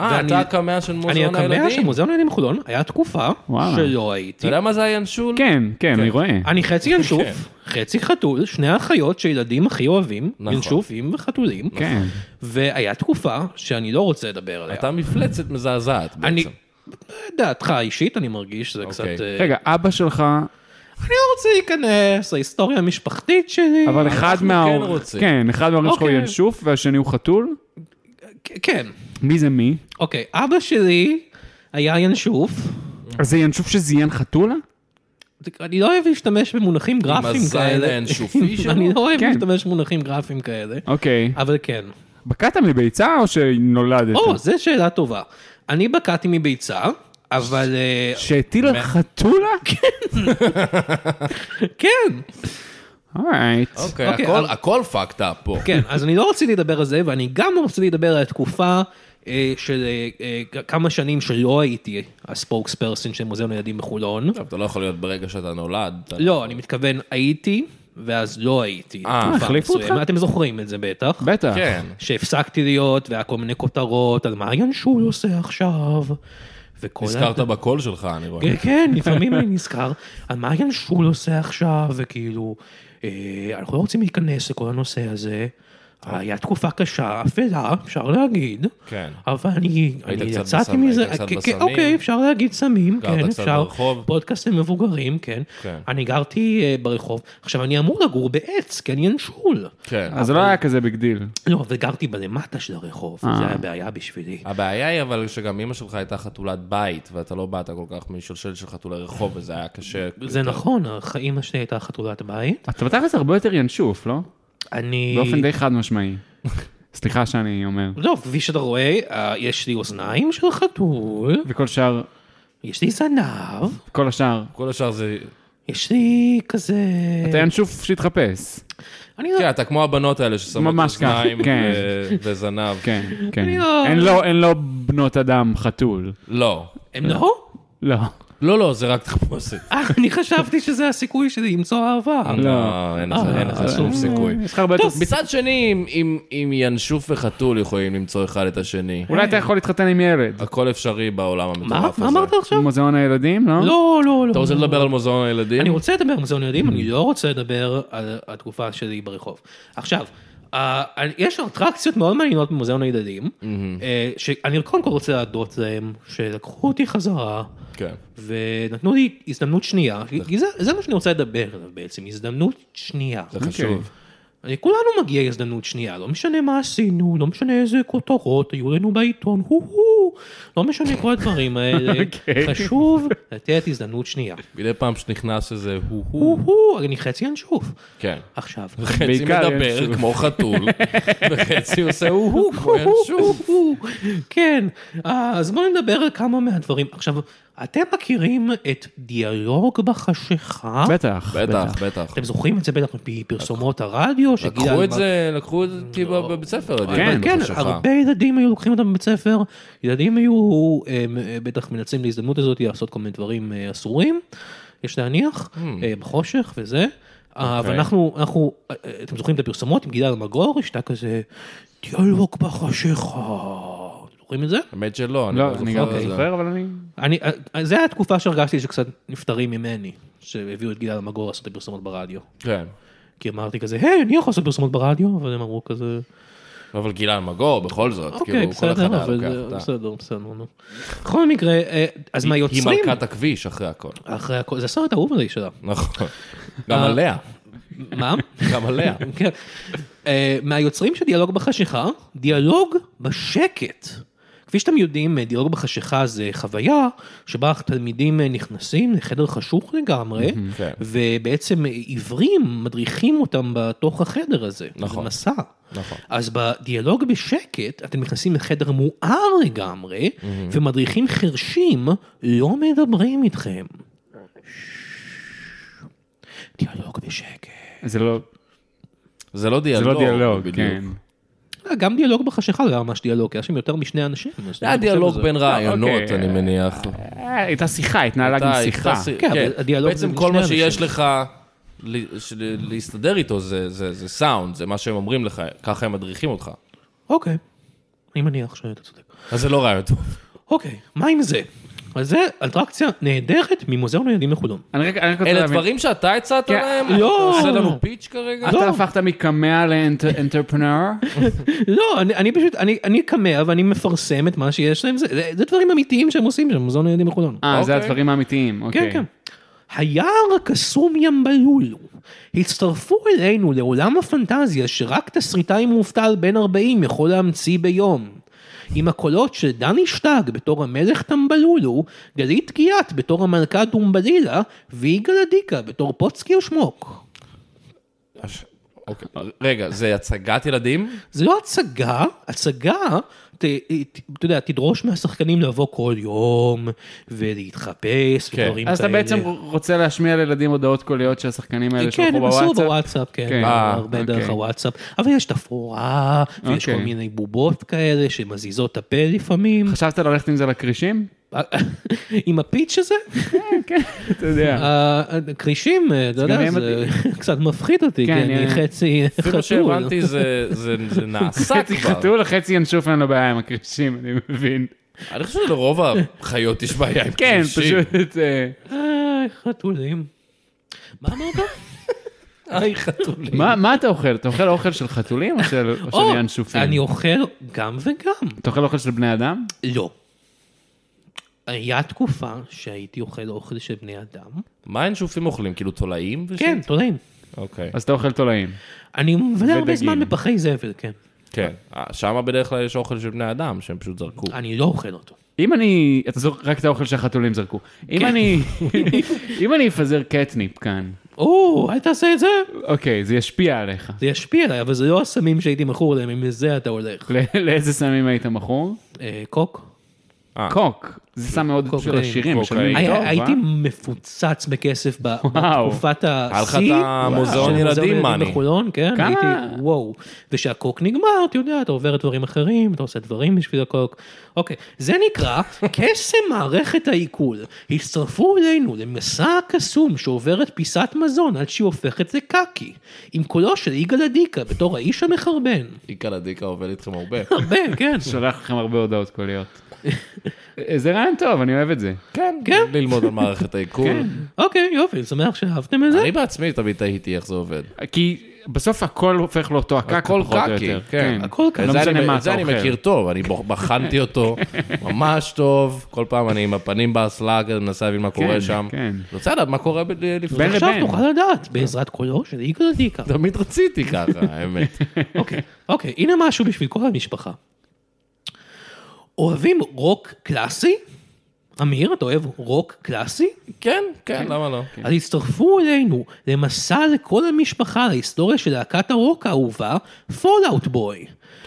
[SPEAKER 2] אה,
[SPEAKER 3] ואני-
[SPEAKER 2] אתה הקמע של
[SPEAKER 3] אני
[SPEAKER 2] מוזיאון
[SPEAKER 3] הקמע של
[SPEAKER 2] הילדים?
[SPEAKER 3] מוזיאון הילדים חולון, היה תקופה
[SPEAKER 4] וואלה.
[SPEAKER 3] שלא
[SPEAKER 2] אתה
[SPEAKER 3] הייתי.
[SPEAKER 2] יודע מה זה הינשול?
[SPEAKER 4] כן, כן, אני רואה.
[SPEAKER 3] אני חצי ינשוף, חצי חתול, שני אחיות שילדים הכי אוהבים,
[SPEAKER 2] נכון.
[SPEAKER 3] ינשופים וחתולים,
[SPEAKER 4] כן.
[SPEAKER 3] והיה תקופה שאני לא רוצה לדבר עליה.
[SPEAKER 2] אתה מפלצת מזעזעת
[SPEAKER 3] אני,
[SPEAKER 2] בעצם.
[SPEAKER 3] דעתך האישית, אני מרגיש שזה קצת...
[SPEAKER 2] אוקיי.
[SPEAKER 3] אה,
[SPEAKER 4] רגע, אבא שלך,
[SPEAKER 3] אני לא רוצה להיכנס להיסטוריה המשפחתית שלי.
[SPEAKER 4] אבל אחד
[SPEAKER 2] כן
[SPEAKER 4] מההורים,
[SPEAKER 2] רוצים.
[SPEAKER 4] כן, אחד מההורים שלך הוא
[SPEAKER 3] אוקיי.
[SPEAKER 4] ינשוף והשני הוא חתול?
[SPEAKER 3] כ- כן,
[SPEAKER 4] מי זה מי?
[SPEAKER 3] אוקיי. אבא שלי היה ינשוף.
[SPEAKER 2] אה.
[SPEAKER 4] אז זה ינשוף שזיין חתולה?
[SPEAKER 3] אני לא אוהב להשתמש במונחים גרפיים
[SPEAKER 2] הזין
[SPEAKER 3] כאלה.
[SPEAKER 2] האינשופי שלו?
[SPEAKER 3] אני לא אוהב
[SPEAKER 4] כן.
[SPEAKER 3] להשתמש במונחים גרפיים כאלה.
[SPEAKER 4] אוקיי.
[SPEAKER 2] אה.
[SPEAKER 3] אבל כן.
[SPEAKER 4] בקעת מביצה או שנולדת?
[SPEAKER 3] או, זו שאלה טובה. אני בקעתי מביצה, אבל... אה,
[SPEAKER 4] שהטיל על חתולה?
[SPEAKER 3] כן,
[SPEAKER 4] אורייט.
[SPEAKER 2] אוקיי,
[SPEAKER 3] אוקיי,
[SPEAKER 2] הכל-
[SPEAKER 3] אבל-
[SPEAKER 2] הכל fucked up פה.
[SPEAKER 3] כן, אז אני לא רציתי לדבר על זה, ואני גם לא רציתי לדבר על התקופה אה, של אה, אה, כמה שנים שלא הייתי הספוקס פרסון של מוזיאון הילדים בחולון.
[SPEAKER 2] עכשיו, אתה לא יכול להיות ברגע שאתה נולד. אתה-
[SPEAKER 3] לא, אני מתכוון, הייתי, ואז לא הייתי.
[SPEAKER 2] אה,
[SPEAKER 3] תקופה
[SPEAKER 4] החליפו אותך?
[SPEAKER 3] מסוימת. אתם זוכרים את זה בטח.
[SPEAKER 4] בטח.
[SPEAKER 2] כן.
[SPEAKER 3] שהפסקתי להיות, והיה כל מיני כותרות על מה ינשול עושה עכשיו. וכל ה-
[SPEAKER 2] נזכרת בקול שלך, אני רואה.
[SPEAKER 3] כן, כן, לפעמים אני נזכר על מה ינשול עושה עכשיו, וכאילו, אה, אנחנו לא רוצים להיכנס לכל הנושא הזה. היה תקופה קשה, אפלה, אפשר להגיד.
[SPEAKER 2] כן.
[SPEAKER 3] אבל אני,
[SPEAKER 2] היית
[SPEAKER 3] אני
[SPEAKER 2] קצת
[SPEAKER 3] יצאתי
[SPEAKER 2] בסם-
[SPEAKER 3] מזה,
[SPEAKER 2] היית קצת
[SPEAKER 3] כן,
[SPEAKER 2] בסמים?
[SPEAKER 3] אוקיי, אפשר להגיד סמים,
[SPEAKER 2] גרת
[SPEAKER 3] כן,
[SPEAKER 2] קצת
[SPEAKER 3] אפשר,
[SPEAKER 2] ברחוב?
[SPEAKER 3] פודקאסט למבוגרים, כן.
[SPEAKER 2] כן.
[SPEAKER 3] אני גרתי אה, ברחוב, עכשיו אני אמור לגור בעץ, כי אני ינשול.
[SPEAKER 2] כן.
[SPEAKER 4] אז זה לא היה כזה ביג דיל.
[SPEAKER 3] לא, אבל גרתי בלמטה של הרחוב,
[SPEAKER 4] אה.
[SPEAKER 3] זה היה בעיה בשבילי.
[SPEAKER 2] הבעיה היא אבל שגם אימא שלך הייתה חתולת בית, ואתה לא באת כל כך משלשל של חתולי רחוב, וזה היה קשה.
[SPEAKER 3] זה נכון, הח- אימא שלי הייתה חתולת בית.
[SPEAKER 4] אתה בתכלס הרבה יותר ינשוף, לא?
[SPEAKER 3] אני...
[SPEAKER 4] באופן די חד משמעי. סליחה שאני אומר.
[SPEAKER 3] לא, כפי שאתה רואה, אה, יש לי אוזניים של חתול,
[SPEAKER 4] וכל שאר,
[SPEAKER 3] יש לי זנב,
[SPEAKER 4] כל השאר.
[SPEAKER 2] כל השאר זה...
[SPEAKER 3] יש לי כזה...
[SPEAKER 4] אתה ינשוף שהתחפש.
[SPEAKER 3] אני לא...
[SPEAKER 2] כן, אתה כמו הבנות האלה ששמות
[SPEAKER 4] ממש ככה,
[SPEAKER 2] אוזניים
[SPEAKER 4] כן.
[SPEAKER 2] ו- וזנב.
[SPEAKER 4] כן, כן.
[SPEAKER 3] אני לא-
[SPEAKER 4] אין לו- אין לו בנות אדם חתול.
[SPEAKER 2] לא.
[SPEAKER 3] הם לא?
[SPEAKER 4] לא.
[SPEAKER 2] לא, לא, זה רק תחפושת.
[SPEAKER 3] אה, אני חשבתי שזה הסיכוי שלי למצוא אהבה.
[SPEAKER 2] לא, אין לך- אין לך
[SPEAKER 4] אה,
[SPEAKER 2] שום סיכוי.
[SPEAKER 4] יש לך הרבה יותר...
[SPEAKER 2] מצד שני, אם- אם- אם ינשוף וחתול יכולים למצוא אחד את השני,
[SPEAKER 3] אה.
[SPEAKER 4] אולי אתה יכול להתחתן עם ילד.
[SPEAKER 2] הכל אפשרי בעולם
[SPEAKER 3] מה?
[SPEAKER 2] המטורף הזה.
[SPEAKER 3] מה אמרת עכשיו?
[SPEAKER 4] מוזיאון הילדים, לא?
[SPEAKER 3] לא, לא, לא.
[SPEAKER 2] אה, אתה רוצה לדבר על מוזיאון הילדים?
[SPEAKER 3] אני רוצה לדבר על מוזיאון ילדים, אני לא רוצה לדבר על התקופה שלי ברחוב. עכשיו, אה, אני- יש אטרקציות מאוד מעניינות במוזיאון הילדים, אה, שאני קודם כל רוצה להודות להם, שלקחו אותי חזרה.
[SPEAKER 2] כן.
[SPEAKER 3] ונתנו לי הזדמנות שנייה, כי זה, זה מה שאני רוצה לדבר עליו בעצם, הזדמנות שנייה.
[SPEAKER 2] זה
[SPEAKER 4] אוקיי.
[SPEAKER 3] אוקיי.
[SPEAKER 2] חשוב.
[SPEAKER 3] אני, כולנו מגיע הזדמנות שנייה, לא משנה מה עשינו, לא משנה איזה כותרות היו לנו בעיתון, הו הו, לא משנה כל הדברים האלה,
[SPEAKER 4] אוקיי.
[SPEAKER 3] חשוב לתת הזדמנות שנייה.
[SPEAKER 2] מדי פעם שנכנס איזה הוא-הוא,
[SPEAKER 3] הו הו, אני חצי ינשוף.
[SPEAKER 2] כן.
[SPEAKER 3] עכשיו,
[SPEAKER 2] חצי
[SPEAKER 4] בעיקר
[SPEAKER 2] מדבר
[SPEAKER 4] ינשוף.
[SPEAKER 2] כמו חתול, וחצי עושה הוא-הוא כמו
[SPEAKER 3] הו
[SPEAKER 2] ינשוף.
[SPEAKER 3] הו, כן, אה, אז בואו נדבר על כמה מהדברים. עכשיו, אתם מכירים את דיאלוג בחשיכה?
[SPEAKER 4] בטח.
[SPEAKER 2] בטח, בטח.
[SPEAKER 3] אתם זוכרים את זה בטח מפרסומות הרדיו, שגיל
[SPEAKER 2] לקחו את
[SPEAKER 3] אלמג-
[SPEAKER 2] זה, לקחו את זה כאילו בבית ספר,
[SPEAKER 4] כן,
[SPEAKER 2] הדיון
[SPEAKER 3] לא. כן,
[SPEAKER 2] בחשיכה.
[SPEAKER 3] הרבה ילדים היו לוקחים אותם בבית ספר, ילדים היו הם, אה, בטח מנצלים להזדמנות הזאת לעשות כל מיני דברים אה, אסורים, יש להניח,
[SPEAKER 2] Hmm.
[SPEAKER 3] אה, בחושך וזה.
[SPEAKER 2] אוקיי.
[SPEAKER 3] אה, אבל אנחנו, אנחנו, אה, אה, אתם זוכרים את הפרסומות עם גילה אלמגור, יש לה כזה דיאלוג בחשיכה, אתם זוכרים את זה?
[SPEAKER 2] האמת שלא, אני
[SPEAKER 4] לא, אני גם
[SPEAKER 2] לא
[SPEAKER 4] לא
[SPEAKER 2] זוכר.
[SPEAKER 4] זוכר, אבל אני...
[SPEAKER 3] אני, אה, זה התקופה שהרגשתי שקצת נפטרים ממני, שהביאו את גילה אלמגור לעשות את הפרסומות ברדיו.
[SPEAKER 2] כן.
[SPEAKER 3] כי אמרתי כזה, היי, אני יכול לעשות פרסומות ברדיו, אבל הם אמרו כזה,
[SPEAKER 2] אבל גיל אלמגור, בכל זאת,
[SPEAKER 3] אוקיי,
[SPEAKER 2] כאילו, כל אחד
[SPEAKER 3] בסדר,
[SPEAKER 2] היה
[SPEAKER 3] אבל
[SPEAKER 2] לוקח אותה.
[SPEAKER 3] בסדר, בסדר, נו. בכל מקרה, אה, אז מה
[SPEAKER 2] היא
[SPEAKER 3] יוצרים?
[SPEAKER 2] מלכת הכביש אחרי הכל.
[SPEAKER 3] אחרי הכל, זה סרט אהוב עלי שלה.
[SPEAKER 2] נכון. גם עליה,
[SPEAKER 3] מה?
[SPEAKER 2] גם עליה.
[SPEAKER 3] כן. אה, מהיוצרים של דיאלוג בחשיכה, דיאלוג בשקט. כפי שאתם יודעים, אה, דיאלוג בחשיכה זה חוויה שבה תלמידים אה, נכנסים לחדר חשוך לגמרי,
[SPEAKER 2] כן.
[SPEAKER 3] ובעצם אה, עיוורים מדריכים אותם בתוך החדר הזה.
[SPEAKER 2] נכון.
[SPEAKER 3] זה מסע.
[SPEAKER 2] נכון.
[SPEAKER 3] אז בדיאלוג בשקט, אתם נכנסים לחדר מואר לגמרי, ומדריכים חרשים לא מדברים איתכם. דיאלוג בשקט.
[SPEAKER 4] זה לא
[SPEAKER 2] זה לא
[SPEAKER 4] זה
[SPEAKER 2] דיאלוג.
[SPEAKER 4] לא דיאלוג,
[SPEAKER 2] בדיוק.
[SPEAKER 4] כן.
[SPEAKER 3] אה, גם דיאלוג בחשיכה לא היה ממש דיאלוג, היה שם יותר משני אנשים. אז
[SPEAKER 2] זה היה
[SPEAKER 3] אני חושב
[SPEAKER 2] דיאלוג
[SPEAKER 3] על
[SPEAKER 2] בין רעיונות,
[SPEAKER 4] אוקיי.
[SPEAKER 2] אני מניח.
[SPEAKER 4] אה, הייתה שיחה, התנהלה גם
[SPEAKER 2] הייתה-
[SPEAKER 4] שיחה.
[SPEAKER 2] הייתה שי-
[SPEAKER 3] כן,
[SPEAKER 2] כן,
[SPEAKER 3] אבל הדיאלוג זה
[SPEAKER 2] בעצם
[SPEAKER 3] בין
[SPEAKER 2] כל
[SPEAKER 3] שני
[SPEAKER 2] מה שיש
[SPEAKER 3] אנשים.
[SPEAKER 2] לך ל- של- להסתדר איתו זה- זה זה סאונד, זה מה שהם אומרים לך, ככה הם מדריכים אותך.
[SPEAKER 3] אוקיי, אני מניח שאתה צודק.
[SPEAKER 2] אז זה לא רעיון טוב.
[SPEAKER 3] אוקיי, מה עם זה? אז זה אטרקציה נהדרת ממוזיאון הילדים לחולון.
[SPEAKER 4] אני רק אני רק רוצה
[SPEAKER 2] אלה
[SPEAKER 4] להבין.
[SPEAKER 2] דברים שאתה הצעת
[SPEAKER 4] כן, אה,
[SPEAKER 2] להם?
[SPEAKER 3] לא.
[SPEAKER 2] אתה עושה לנו פיץ' כרגע?
[SPEAKER 4] אתה הפכת מקמע לאנטרפרנר?
[SPEAKER 3] לא, אני, אני פשוט, אני, אני קמע ואני מפרסם את מה שיש להם, זה, זה, זה דברים אמיתיים שהם עושים שם, מוזיאון הילדים בחולון.
[SPEAKER 4] אה, זה
[SPEAKER 2] אוקיי.
[SPEAKER 4] הדברים האמיתיים,
[SPEAKER 3] כן,
[SPEAKER 4] אוקיי.
[SPEAKER 3] כן. היער הקסום ים בלולו. הצטרפו אלינו לעולם הפנטזיה שרק תסריטאי מובטל בן 40 יכול להמציא ביום. עם הקולות של דני שטג בתור המלך טמבלולו, גלית קיאט בתור המלכה דומבלילה, ויגאל אדיקה בתור פוצקי או שמוק.
[SPEAKER 2] אוקיי. רגע, זה הצגת ילדים?
[SPEAKER 3] זה לא הצגה, הצגה, ת- ת- אתה יודע, תדרוש מהשחקנים לבוא כל יום, ולהתחפש,
[SPEAKER 2] כן.
[SPEAKER 3] ודברים כאלה.
[SPEAKER 4] אז אתה בעצם רוצה להשמיע לילדים הודעות קוליות שהשחקנים האלה
[SPEAKER 3] כן,
[SPEAKER 4] שלחו
[SPEAKER 3] הם עשו
[SPEAKER 4] בוואטסאפ?
[SPEAKER 3] בוואטסאפ, כן,
[SPEAKER 4] כן.
[SPEAKER 2] אה,
[SPEAKER 3] הרבה דרך
[SPEAKER 4] אוקיי.
[SPEAKER 3] הוואטסאפ, אבל יש תפאורה, ויש כל
[SPEAKER 4] אוקיי.
[SPEAKER 3] מיני בובות כאלה שמזיזות את הפה לפעמים.
[SPEAKER 4] חשבת ללכת עם זה לכרישים?
[SPEAKER 3] עם הפיץ' הזה, כן,
[SPEAKER 4] אתה
[SPEAKER 3] אה,
[SPEAKER 4] יודע.
[SPEAKER 3] הכרישים, אה, אתה יודע,
[SPEAKER 4] סגני
[SPEAKER 3] זה קצת מפחיד אותי, כי
[SPEAKER 4] כן,
[SPEAKER 3] אני
[SPEAKER 4] אני-
[SPEAKER 3] חצי
[SPEAKER 2] לפי מה
[SPEAKER 3] חתול.
[SPEAKER 2] שהבנתי זה- זה זה נעשה
[SPEAKER 4] חצי
[SPEAKER 2] כבר.
[SPEAKER 4] חתול, חצי ינשוף, אין לו בעיה עם הכרישים, אני מבין.
[SPEAKER 2] אני חושב שלרוב החיות יש בעיה עם
[SPEAKER 4] כן,
[SPEAKER 2] כבישים.
[SPEAKER 4] פשוט... אה,
[SPEAKER 3] איי, חתולים. מה אמרת?
[SPEAKER 2] היי חתולים.
[SPEAKER 4] מה מה אתה אוכל? אתה אוכל אוכל של חתולים או של או
[SPEAKER 3] או,
[SPEAKER 4] של ינשופים?
[SPEAKER 3] אני אוכל גם וגם.
[SPEAKER 4] אתה אוכל אוכל של בני אדם?
[SPEAKER 3] לא. היה תקופה שהייתי אוכל אוכל של בני אדם.
[SPEAKER 2] מה אינשופים אוכלים? כאילו תולעים? וש-
[SPEAKER 3] כן, תולעים.
[SPEAKER 2] אוקיי.
[SPEAKER 4] אז אתה אוכל תולעים.
[SPEAKER 3] אני מבלה הרבה
[SPEAKER 4] ודגים.
[SPEAKER 3] זמן בפחי זבל, כן.
[SPEAKER 2] כן. אה, שמה בדרך כלל יש אוכל של בני אדם שהם פשוט זרקו.
[SPEAKER 3] אני לא אוכל אותו.
[SPEAKER 4] אם אני... אתה זוכר רק את האוכל שהחתולים זרקו. אם
[SPEAKER 3] כן.
[SPEAKER 4] אני... אם אני אפזר קטניפ כאן,
[SPEAKER 3] או, אל תעשה את זה.
[SPEAKER 4] אוקיי, זה ישפיע עליך.
[SPEAKER 3] זה ישפיע עליי, אבל זה לא הסמים שהייתי מכור להם, אם לזה אתה הולך.
[SPEAKER 4] לא- לאיזה סמים היית מכור?
[SPEAKER 3] אה, קוק?
[SPEAKER 2] אה.
[SPEAKER 4] קוק. זה סם מאוד של
[SPEAKER 3] קוקאין.
[SPEAKER 4] השירים. של
[SPEAKER 2] קוקאין.
[SPEAKER 4] מי טוב,
[SPEAKER 3] הי-
[SPEAKER 4] אה?
[SPEAKER 3] הייתי מפוצץ בכסף ב-
[SPEAKER 4] וואו.
[SPEAKER 3] בתקופת
[SPEAKER 2] היה לך
[SPEAKER 3] השיא.
[SPEAKER 2] את המוזיאון
[SPEAKER 3] של
[SPEAKER 2] ילדים, מאני.
[SPEAKER 3] בחולון, כן,
[SPEAKER 4] כמה?
[SPEAKER 3] הייתי, וואו. וכשהקוק נגמר, אתה יודע, אתה עובר לדברים אחרים, אתה עושה דברים בשביל הקוק. אוקיי, זה נקרא קסם מערכת העיכול. הצטרפו אלינו למסע הקסום שעובר את פיסת מזון עד שהיא הופכת לקקי. עם קולו של יגאל אדיקה בתור האיש המחרבן.
[SPEAKER 2] איקה לדיקה עובד איתכם הרבה.
[SPEAKER 3] הרבה, כן.
[SPEAKER 4] שולח לכם הרבה הודעות קוליות. אה, זה רעיון טוב, אני אוהב את זה.
[SPEAKER 2] כן,
[SPEAKER 3] כן.
[SPEAKER 2] ללמוד על מערכת העיכול.
[SPEAKER 4] כן.
[SPEAKER 3] אוקיי, יופי, שמח שאהבתם את זה.
[SPEAKER 2] אני בעצמי תמיד תהיתי איך זה עובד.
[SPEAKER 4] כי בסוף הכל הופך לאותו הקקה,
[SPEAKER 2] הכל
[SPEAKER 4] פחות או
[SPEAKER 2] קקי,
[SPEAKER 4] יותר.
[SPEAKER 2] כן.
[SPEAKER 3] הכל
[SPEAKER 4] לא
[SPEAKER 3] כזה.
[SPEAKER 2] זה
[SPEAKER 4] משנה
[SPEAKER 2] אני-
[SPEAKER 4] מה
[SPEAKER 2] את זה
[SPEAKER 4] אתה
[SPEAKER 2] אני
[SPEAKER 4] אוכל.
[SPEAKER 2] מכיר טוב, אני בוח- בחנתי אותו ממש טוב, כל פעם אני עם הפנים באסלאג, אני מנסה להבין מה קורה
[SPEAKER 4] כן,
[SPEAKER 2] שם.
[SPEAKER 4] כן.
[SPEAKER 2] אני רוצה לדעת מה קורה ב- לפני.
[SPEAKER 4] בין
[SPEAKER 3] עכשיו
[SPEAKER 4] לבין.
[SPEAKER 3] נוכל לדעת בעזרת קולו של יגאל אדיקה.
[SPEAKER 2] תמיד רציתי ככה, האמת.
[SPEAKER 3] אוקיי, אוקיי, הנה משהו בשביל כל המשפחה. אוהבים רוק קלאסי? אמיר, אתה אוהב רוק קלאסי?
[SPEAKER 2] כן, כן, למה לא?
[SPEAKER 3] אז הצטרפו אלינו למסע לכל המשפחה להיסטוריה של להקת הרוק האהובה, פולאאוט בוי.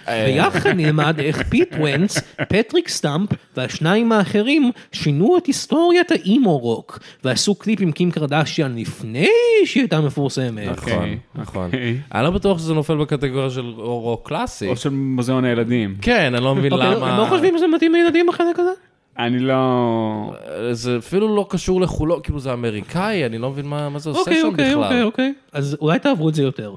[SPEAKER 2] אה.
[SPEAKER 3] ביחד נלמד איך פיט ונץ, פטריק סטאמפ והשניים האחרים שינו את היסטוריית האימו רוק, ועשו קליפ עם קים קרדשיאן לפני שהיא הייתה מפורסמת.
[SPEAKER 2] נכון, נכון.
[SPEAKER 4] אוקיי.
[SPEAKER 2] אני לא בטוח שזה נופל בקטגוריה של רוק קלאסי.
[SPEAKER 4] או של מוזיאון הילדים.
[SPEAKER 2] כן, אני לא מבין
[SPEAKER 3] אוקיי,
[SPEAKER 2] למה...
[SPEAKER 3] הם לא חושבים שזה מתאים לילדים בחלק הזה?
[SPEAKER 4] אני לא...
[SPEAKER 2] זה אפילו לא קשור לחולו, כאילו זה אמריקאי, אני לא מבין מה מה זה עושה
[SPEAKER 3] אוקיי,
[SPEAKER 2] שם
[SPEAKER 3] אוקיי, אוקיי,
[SPEAKER 2] בכלל.
[SPEAKER 3] אוקיי. אז אולי תעברו את זה יותר.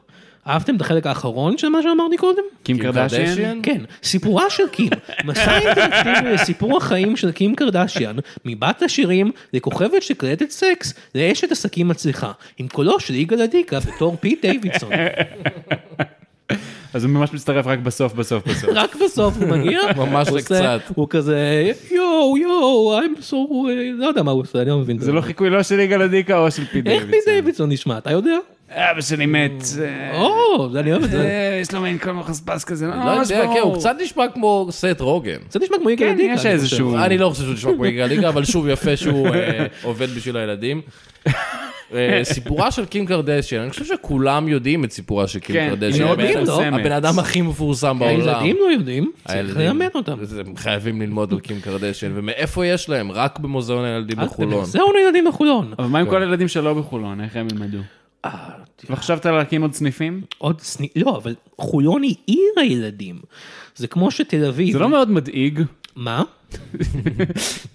[SPEAKER 3] אהבתם את החלק האחרון של מה שאמרתי קודם?
[SPEAKER 4] קים
[SPEAKER 2] קים
[SPEAKER 4] קרדשיין?
[SPEAKER 2] כאילו, קרדשיאן?
[SPEAKER 3] כן, סיפורה של קים, מסע אינטרנטיבי לסיפור החיים של קים קרדשיאן, מבת השירים לכוכבת שקלטת סקס לאשת עסקים מצליחה, עם קולו של יגאל אדיקה בתור פיט דיווידסון.
[SPEAKER 4] אז הוא ממש מצטרף רק בסוף, בסוף, בסוף.
[SPEAKER 3] רק בסוף הוא מגיע,
[SPEAKER 2] ממש
[SPEAKER 3] הוא עושה-
[SPEAKER 2] לקצת.
[SPEAKER 3] הוא כזה יואו יואו, I'm so, לא יודע מה הוא עושה, אני לא מבין. את
[SPEAKER 4] זה לא חיקוי לא של יגאל עדיקה או של פי
[SPEAKER 3] איך פיט
[SPEAKER 4] דיווידסון.
[SPEAKER 3] דיווידסון נשמע, אתה יודע?
[SPEAKER 4] אבא שלי מת. אה,
[SPEAKER 3] או, אני אוהב את זה.
[SPEAKER 4] אה, יש לו מין כל מחספס כזה.
[SPEAKER 2] לא יודע, כן, הוא קצת נשמע כמו סט רוגן.
[SPEAKER 3] זה נשמע כמו יגאל
[SPEAKER 4] כן,
[SPEAKER 3] אדיקה.
[SPEAKER 4] יש
[SPEAKER 3] אני חושב.
[SPEAKER 4] איזשהו- שהוא-
[SPEAKER 2] אני לא חושב שהוא נשמע כמו יגאל ליגה, אבל שוב, יפה שהוא אה, עובד בשביל הילדים. אה, סיפורה של קים קרדשיין, אני חושב שכולם יודעים את סיפורה של קים
[SPEAKER 4] כן,
[SPEAKER 2] קרדשיין.
[SPEAKER 4] היא מאוד
[SPEAKER 2] באמת,
[SPEAKER 4] מפורסמת.
[SPEAKER 2] הבן אדם הכי מפורסם בעולם.
[SPEAKER 3] הילדים לא יודעים, צריך
[SPEAKER 2] הילדים.
[SPEAKER 3] ללמד אותם.
[SPEAKER 2] אז הם חייבים ללמוד על קים קרדשיין, ומאיפה יש להם? רק במוזיאון הילדים
[SPEAKER 3] אה,
[SPEAKER 2] בחולון.
[SPEAKER 3] זהו ילדים בחולון.
[SPEAKER 4] אבל מה עם כל הילדים שלא בחולון? איך הם ילמדו? לא חשבת להקים עוד סניפים?
[SPEAKER 3] עוד סני... לא, אבל חולון היא עיר הילדים. זה כמו שתל אביב...
[SPEAKER 4] זה לא מאוד לא מדאיג.
[SPEAKER 3] מה?
[SPEAKER 4] זה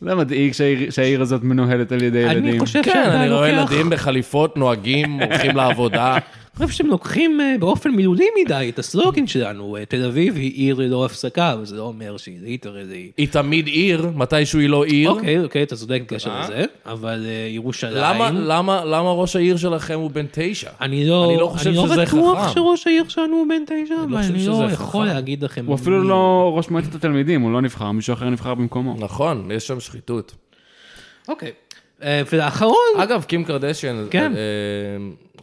[SPEAKER 4] לא מדאיג שהעיר- שהעיר הזאת מנוהלת על ידי ילדים.
[SPEAKER 3] אני חושב
[SPEAKER 2] כן,
[SPEAKER 3] שאתה
[SPEAKER 2] אני רואה
[SPEAKER 3] לוקח...
[SPEAKER 2] ילדים בחליפות, נוהגים, הולכים לעבודה.
[SPEAKER 3] אני חושב שהם לוקחים אה, באופן מילולי מדי את הסלוגן שלנו, אה, תל אביב היא עיר ללא הפסקה, אבל זה לא אומר שהיא ליטרלי היא
[SPEAKER 2] היא תמיד עיר, מתישהו היא לא עיר. אה?
[SPEAKER 3] אוקיי, אוקיי, אתה צודק בקשר לזה, אבל אה, ירושלים...
[SPEAKER 2] למה, למה, למה ראש העיר שלכם הוא בן תשע?
[SPEAKER 3] אני לא,
[SPEAKER 2] אני לא חושב שזה
[SPEAKER 3] אני לא בטוח
[SPEAKER 2] חכם.
[SPEAKER 3] שראש העיר שלנו הוא בן תשע, אבל
[SPEAKER 2] חושב
[SPEAKER 3] אני
[SPEAKER 2] שזה
[SPEAKER 3] לא
[SPEAKER 2] חכם.
[SPEAKER 3] יכול להגיד לכם...
[SPEAKER 4] הוא אפילו
[SPEAKER 3] מי-
[SPEAKER 4] לא ראש מועצת התלמידים, הוא לא נבחר, מישהו אחר נבחר במקומו.
[SPEAKER 2] נכון, יש שם שחיתות.
[SPEAKER 3] אוקיי. אה, ולאחרון,
[SPEAKER 2] אגב, קים קרדשיין,
[SPEAKER 3] כן.
[SPEAKER 2] אה,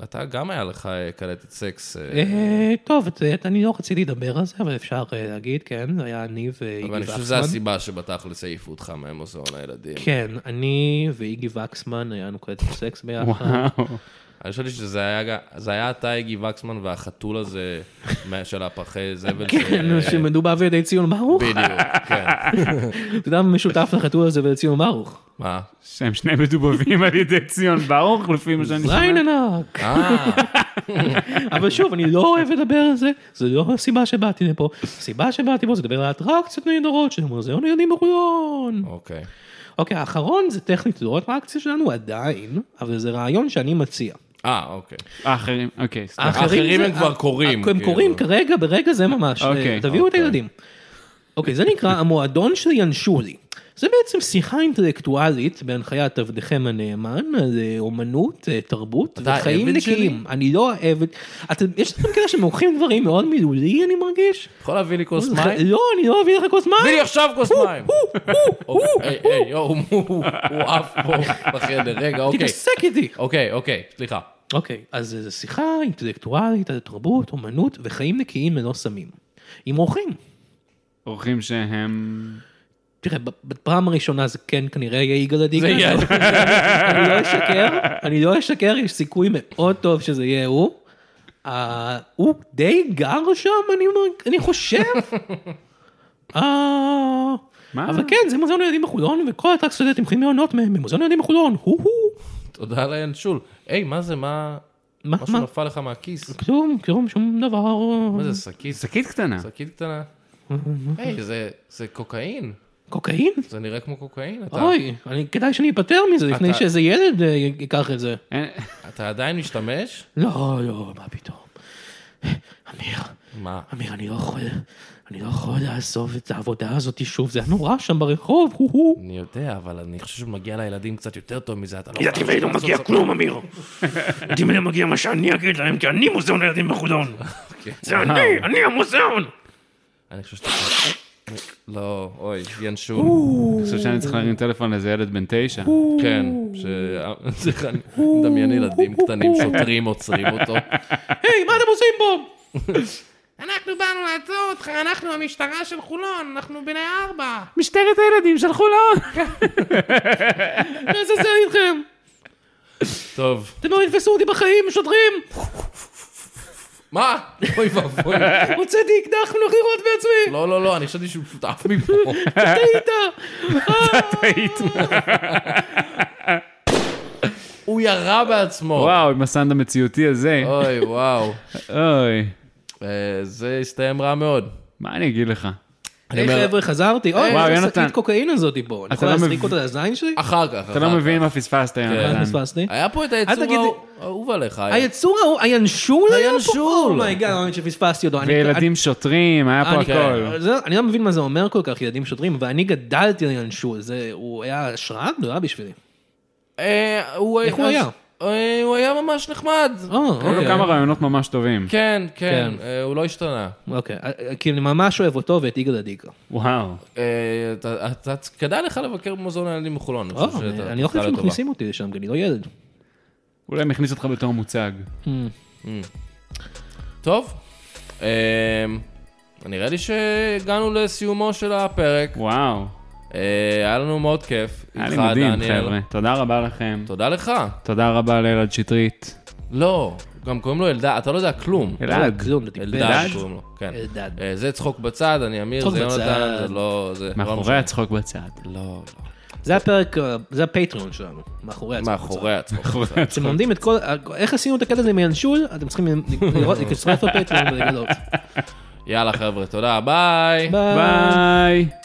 [SPEAKER 2] אתה גם היה לך אה, קלטת סקס, אה,
[SPEAKER 3] אה, טוב, את- את- אני לא רציתי לדבר על זה, אבל אפשר אה, להגיד, כן, זה היה אני ואיגי
[SPEAKER 2] אבל אני חושב שזו
[SPEAKER 3] וקסמן.
[SPEAKER 2] הסיבה שבתכלס העיפו אותך ממוזיאון הילדים.
[SPEAKER 3] כן, אני ואיגי וקסמן, היה לנו קלטת סקס ביחד.
[SPEAKER 4] וואו.
[SPEAKER 2] אני חשבתי שזה היה, ג- זה היה אתה, איגי וקסמן, והחתול הזה מה- של הפחי זבל.
[SPEAKER 3] כן,
[SPEAKER 2] ש- אה,
[SPEAKER 3] שמדובר בידי ציון ברוך.
[SPEAKER 2] בדיוק, כן.
[SPEAKER 3] אתה יודע מה משותף לחתול הזה ולציון ברוך?
[SPEAKER 2] מה?
[SPEAKER 4] שהם שני מדובבים על ידי ציון ברוך, לפי מה שאני
[SPEAKER 3] זין
[SPEAKER 4] שומע.
[SPEAKER 3] ענק.
[SPEAKER 2] אה,
[SPEAKER 3] אבל שוב, אני לא אוהב לדבר על זה, זו לא הסיבה שבאתי לפה. הסיבה שבאתי לפה זה לדבר על אטרקציות נהדרות של מוזיאון הילדים בחולון.
[SPEAKER 2] אוקיי.
[SPEAKER 3] אוקיי, האחרון זה טכנית לא אטרקציה שלנו עדיין, אבל זה רעיון שאני מציע.
[SPEAKER 2] אה, אוקיי.
[SPEAKER 4] אה, אחרים, אוקיי, סליחה.
[SPEAKER 2] האחרים
[SPEAKER 3] זה-
[SPEAKER 2] הם כבר קורים,
[SPEAKER 3] הם
[SPEAKER 2] כאילו.
[SPEAKER 3] קורים כרגע, ברגע זה ממש.
[SPEAKER 4] אוקיי,
[SPEAKER 3] אה, תביאו את הילדים. אוקיי, זה נקרא המועדון של ינשולי. זה בעצם שיחה אינטלקטואלית בהנחיית עבדכם הנאמן על אה, אומנות, אה, תרבות
[SPEAKER 2] אתה
[SPEAKER 3] וחיים
[SPEAKER 2] העבד שלי?
[SPEAKER 3] נקיים. אני לא העבד... אתם- יש לכם כאלה שהם לוקחים דברים מאוד מילולי, אני מרגיש?
[SPEAKER 2] יכול להביא לי כוס
[SPEAKER 3] זה-
[SPEAKER 2] מים?
[SPEAKER 3] לא, אני לא אביא לך כוס מים.
[SPEAKER 2] תביא לי עכשיו כוס מים. אוקיי,
[SPEAKER 3] הוא, הוא,
[SPEAKER 2] היי, היי, יואו, הוא- הוא הוא עף פה בחדר. רגע, אוקיי.
[SPEAKER 3] תתעסק איתי.
[SPEAKER 2] אוקיי, אוקיי, סליחה.
[SPEAKER 3] אוקיי, אז זו שיחה אינטלקטואלית על תרבות, אומנות וחיים נקיים ללא סמים. עם אורחים.
[SPEAKER 4] אורחים שהם...
[SPEAKER 3] תראה, ב- בפעם הראשונה זה כן כנראה יהיה יגאל עדיקה.
[SPEAKER 2] זה יהיה-
[SPEAKER 3] אני לא אשקר, אני לא אשקר, יש סיכוי מאוד טוב שזה יהיה הוא. אה, הוא די גר שם, אני מר- אני חושב. אה,
[SPEAKER 4] מה?
[SPEAKER 3] אבל כן, זה מוזיאון הילדים בחולון, וכל האטרקציות האלה אתם יכולים ליהנות מהם במוזיאון הילדים בחולון, הו הו.
[SPEAKER 2] תודה לינשול. היי, מה זה, מה...
[SPEAKER 3] מה,
[SPEAKER 2] משהו
[SPEAKER 3] מה?
[SPEAKER 2] נפל לך מהכיס?
[SPEAKER 3] כלום, כלום, שום דבר.
[SPEAKER 2] מה זה, שקית?
[SPEAKER 4] שקית קטנה.
[SPEAKER 2] שקית קטנה? היי, זה- זה קוקאין.
[SPEAKER 3] קוקאין?
[SPEAKER 2] זה נראה כמו קוקאין. אתה-
[SPEAKER 3] אוי, אני, כדאי שאני אפטר מזה לפני
[SPEAKER 2] אתה-
[SPEAKER 3] שאיזה ילד אה, י- ייקח את זה.
[SPEAKER 4] אין-
[SPEAKER 2] אתה עדיין משתמש?
[SPEAKER 3] לא, לא, מה פתאום. אמיר,
[SPEAKER 2] מה?
[SPEAKER 3] אמיר, אני לא יכול, אני לא יכול לעזוב את העבודה הזאת שוב, זה היה נורא שם ברחוב, הו הו.
[SPEAKER 2] אני יודע, אבל אני חושב שמגיע לילדים קצת יותר טוב מזה, אתה לא...
[SPEAKER 5] ילדים האלה לא מגיע כלום, אמיר. ילדים האלה מגיע מה שאני אגיד להם, כי אני מוזיאון הילדים בחולון. זה אני, אני המוזיאון.
[SPEAKER 2] אני חושב שאתה... לא, אוי, ינשול.
[SPEAKER 4] אני חושב שאני צריך להרים טלפון לאיזה ילד בן תשע.
[SPEAKER 2] כן, ש... צריך לדמיין ילדים קטנים, שוטרים עוצרים אותו.
[SPEAKER 3] היי, מה אתם עושים פה?
[SPEAKER 6] אנחנו באנו לעצור אותך, אנחנו המשטרה של חולון, אנחנו בני ארבע.
[SPEAKER 4] משטרת הילדים של חולון!
[SPEAKER 3] איזה זה איתכם?
[SPEAKER 2] טוב.
[SPEAKER 3] אתם לא יתפסו אותי בחיים, שוטרים!
[SPEAKER 2] מה? אוי ואבוי.
[SPEAKER 3] הוצאתי אקדח מנחירות בעצמי!
[SPEAKER 2] לא, לא, לא, אני חשבתי שהוא פשוט עף מפה.
[SPEAKER 3] טעית!
[SPEAKER 2] הוא ירה בעצמו.
[SPEAKER 4] וואו, עם הסאונד המציאותי הזה.
[SPEAKER 2] אוי, וואו.
[SPEAKER 4] אוי.
[SPEAKER 2] אה, זה הסתיים רע מאוד.
[SPEAKER 4] מה אני אגיד לך?
[SPEAKER 2] אני
[SPEAKER 3] היי
[SPEAKER 2] אומר,
[SPEAKER 3] חבר'ה, חזרתי. אוי,
[SPEAKER 4] וואו,
[SPEAKER 3] איזה
[SPEAKER 4] יונתן.
[SPEAKER 3] שקית קוקאין הזאתי פה. אני יכול
[SPEAKER 4] לא
[SPEAKER 3] להזריק
[SPEAKER 4] מבין.
[SPEAKER 3] אותה
[SPEAKER 4] אה,
[SPEAKER 3] לזין שלי?
[SPEAKER 2] אחר כך. כן.
[SPEAKER 4] אתה לא מבין מה פספסת,
[SPEAKER 3] מה
[SPEAKER 4] יונתן.
[SPEAKER 3] פספסתי?
[SPEAKER 2] היה פה את
[SPEAKER 3] אל תגיד-
[SPEAKER 2] היצור האהוב עליך.
[SPEAKER 4] אה.
[SPEAKER 3] היצור ההוא, הינשול היה פה?
[SPEAKER 2] הינשול.
[SPEAKER 3] אומייגאד, האמת שפספסתי אותו. אני-
[SPEAKER 4] וילדים שוטרים, היה פה כן.
[SPEAKER 3] אני-
[SPEAKER 2] כן.
[SPEAKER 4] הכל.
[SPEAKER 3] זה- אני לא מבין מה זה אומר כל כך, ילדים שוטרים, ואני גדלתי על ינשול, זה, הוא היה השראה גדולה בשבילי.
[SPEAKER 2] אה, הוא
[SPEAKER 3] איך הוא היה?
[SPEAKER 2] אה, הוא היה ממש נחמד.
[SPEAKER 3] אה,
[SPEAKER 4] היו לו
[SPEAKER 3] אוקיי.
[SPEAKER 4] כן. כמה רעיונות ממש טובים.
[SPEAKER 2] כן, כן,
[SPEAKER 3] כן.
[SPEAKER 2] אה, הוא לא השתנה.
[SPEAKER 3] אוקיי, אה, אה, כי אני ממש אוהב אותו ואת יגאל עדיקה.
[SPEAKER 4] וואו.
[SPEAKER 2] אה, אתה- אתה- כדאי לך לבקר במוזיאון הילדים בחולון.
[SPEAKER 3] אה,
[SPEAKER 2] חושב שאתה-
[SPEAKER 3] אני לא חושב
[SPEAKER 2] אתה לטובה.
[SPEAKER 3] שמכניסים אותי לשם, כי אני לא ילד.
[SPEAKER 4] אולי הם הכניס אותך בתור מוצג.
[SPEAKER 2] טוב, אה, נראה לי שהגענו לסיומו של הפרק.
[SPEAKER 4] וואו.
[SPEAKER 2] אה, היה לנו מאוד כיף.
[SPEAKER 4] היה לי
[SPEAKER 2] איתך,
[SPEAKER 4] מדהים,
[SPEAKER 2] דניאל.
[SPEAKER 4] חבר'ה. תודה רבה לכם.
[SPEAKER 2] תודה לך.
[SPEAKER 4] תודה רבה לאלעד שטרית.
[SPEAKER 2] לא, גם קוראים לו אלדד, אתה לא יודע כלום.
[SPEAKER 4] אלעד.
[SPEAKER 3] כלום, זה
[SPEAKER 2] אלדד
[SPEAKER 3] טיפש.
[SPEAKER 2] קוראים לו, כן.
[SPEAKER 3] אלדד.
[SPEAKER 2] אה, זה צחוק בצד, אני אמיר,
[SPEAKER 3] צחוק
[SPEAKER 2] זה יונתן,
[SPEAKER 3] בצד.
[SPEAKER 2] זה לא... זה לא
[SPEAKER 4] מאחורי
[SPEAKER 2] משנה.
[SPEAKER 4] הצחוק בצד.
[SPEAKER 2] לא,
[SPEAKER 3] זה הפרק, אה, זה הפטריון שלנו, מאחורי
[SPEAKER 2] לא.
[SPEAKER 3] עצמו.
[SPEAKER 2] מאחורי הצחוק.
[SPEAKER 3] אתם לומדים את כל, איך עשינו את הקטע הזה מינשול, אתם צריכים לראות, להצטרף לפטריון ולגלות.
[SPEAKER 2] יאללה חבר'ה, תודה, ביי.
[SPEAKER 3] ביי.
[SPEAKER 4] ביי.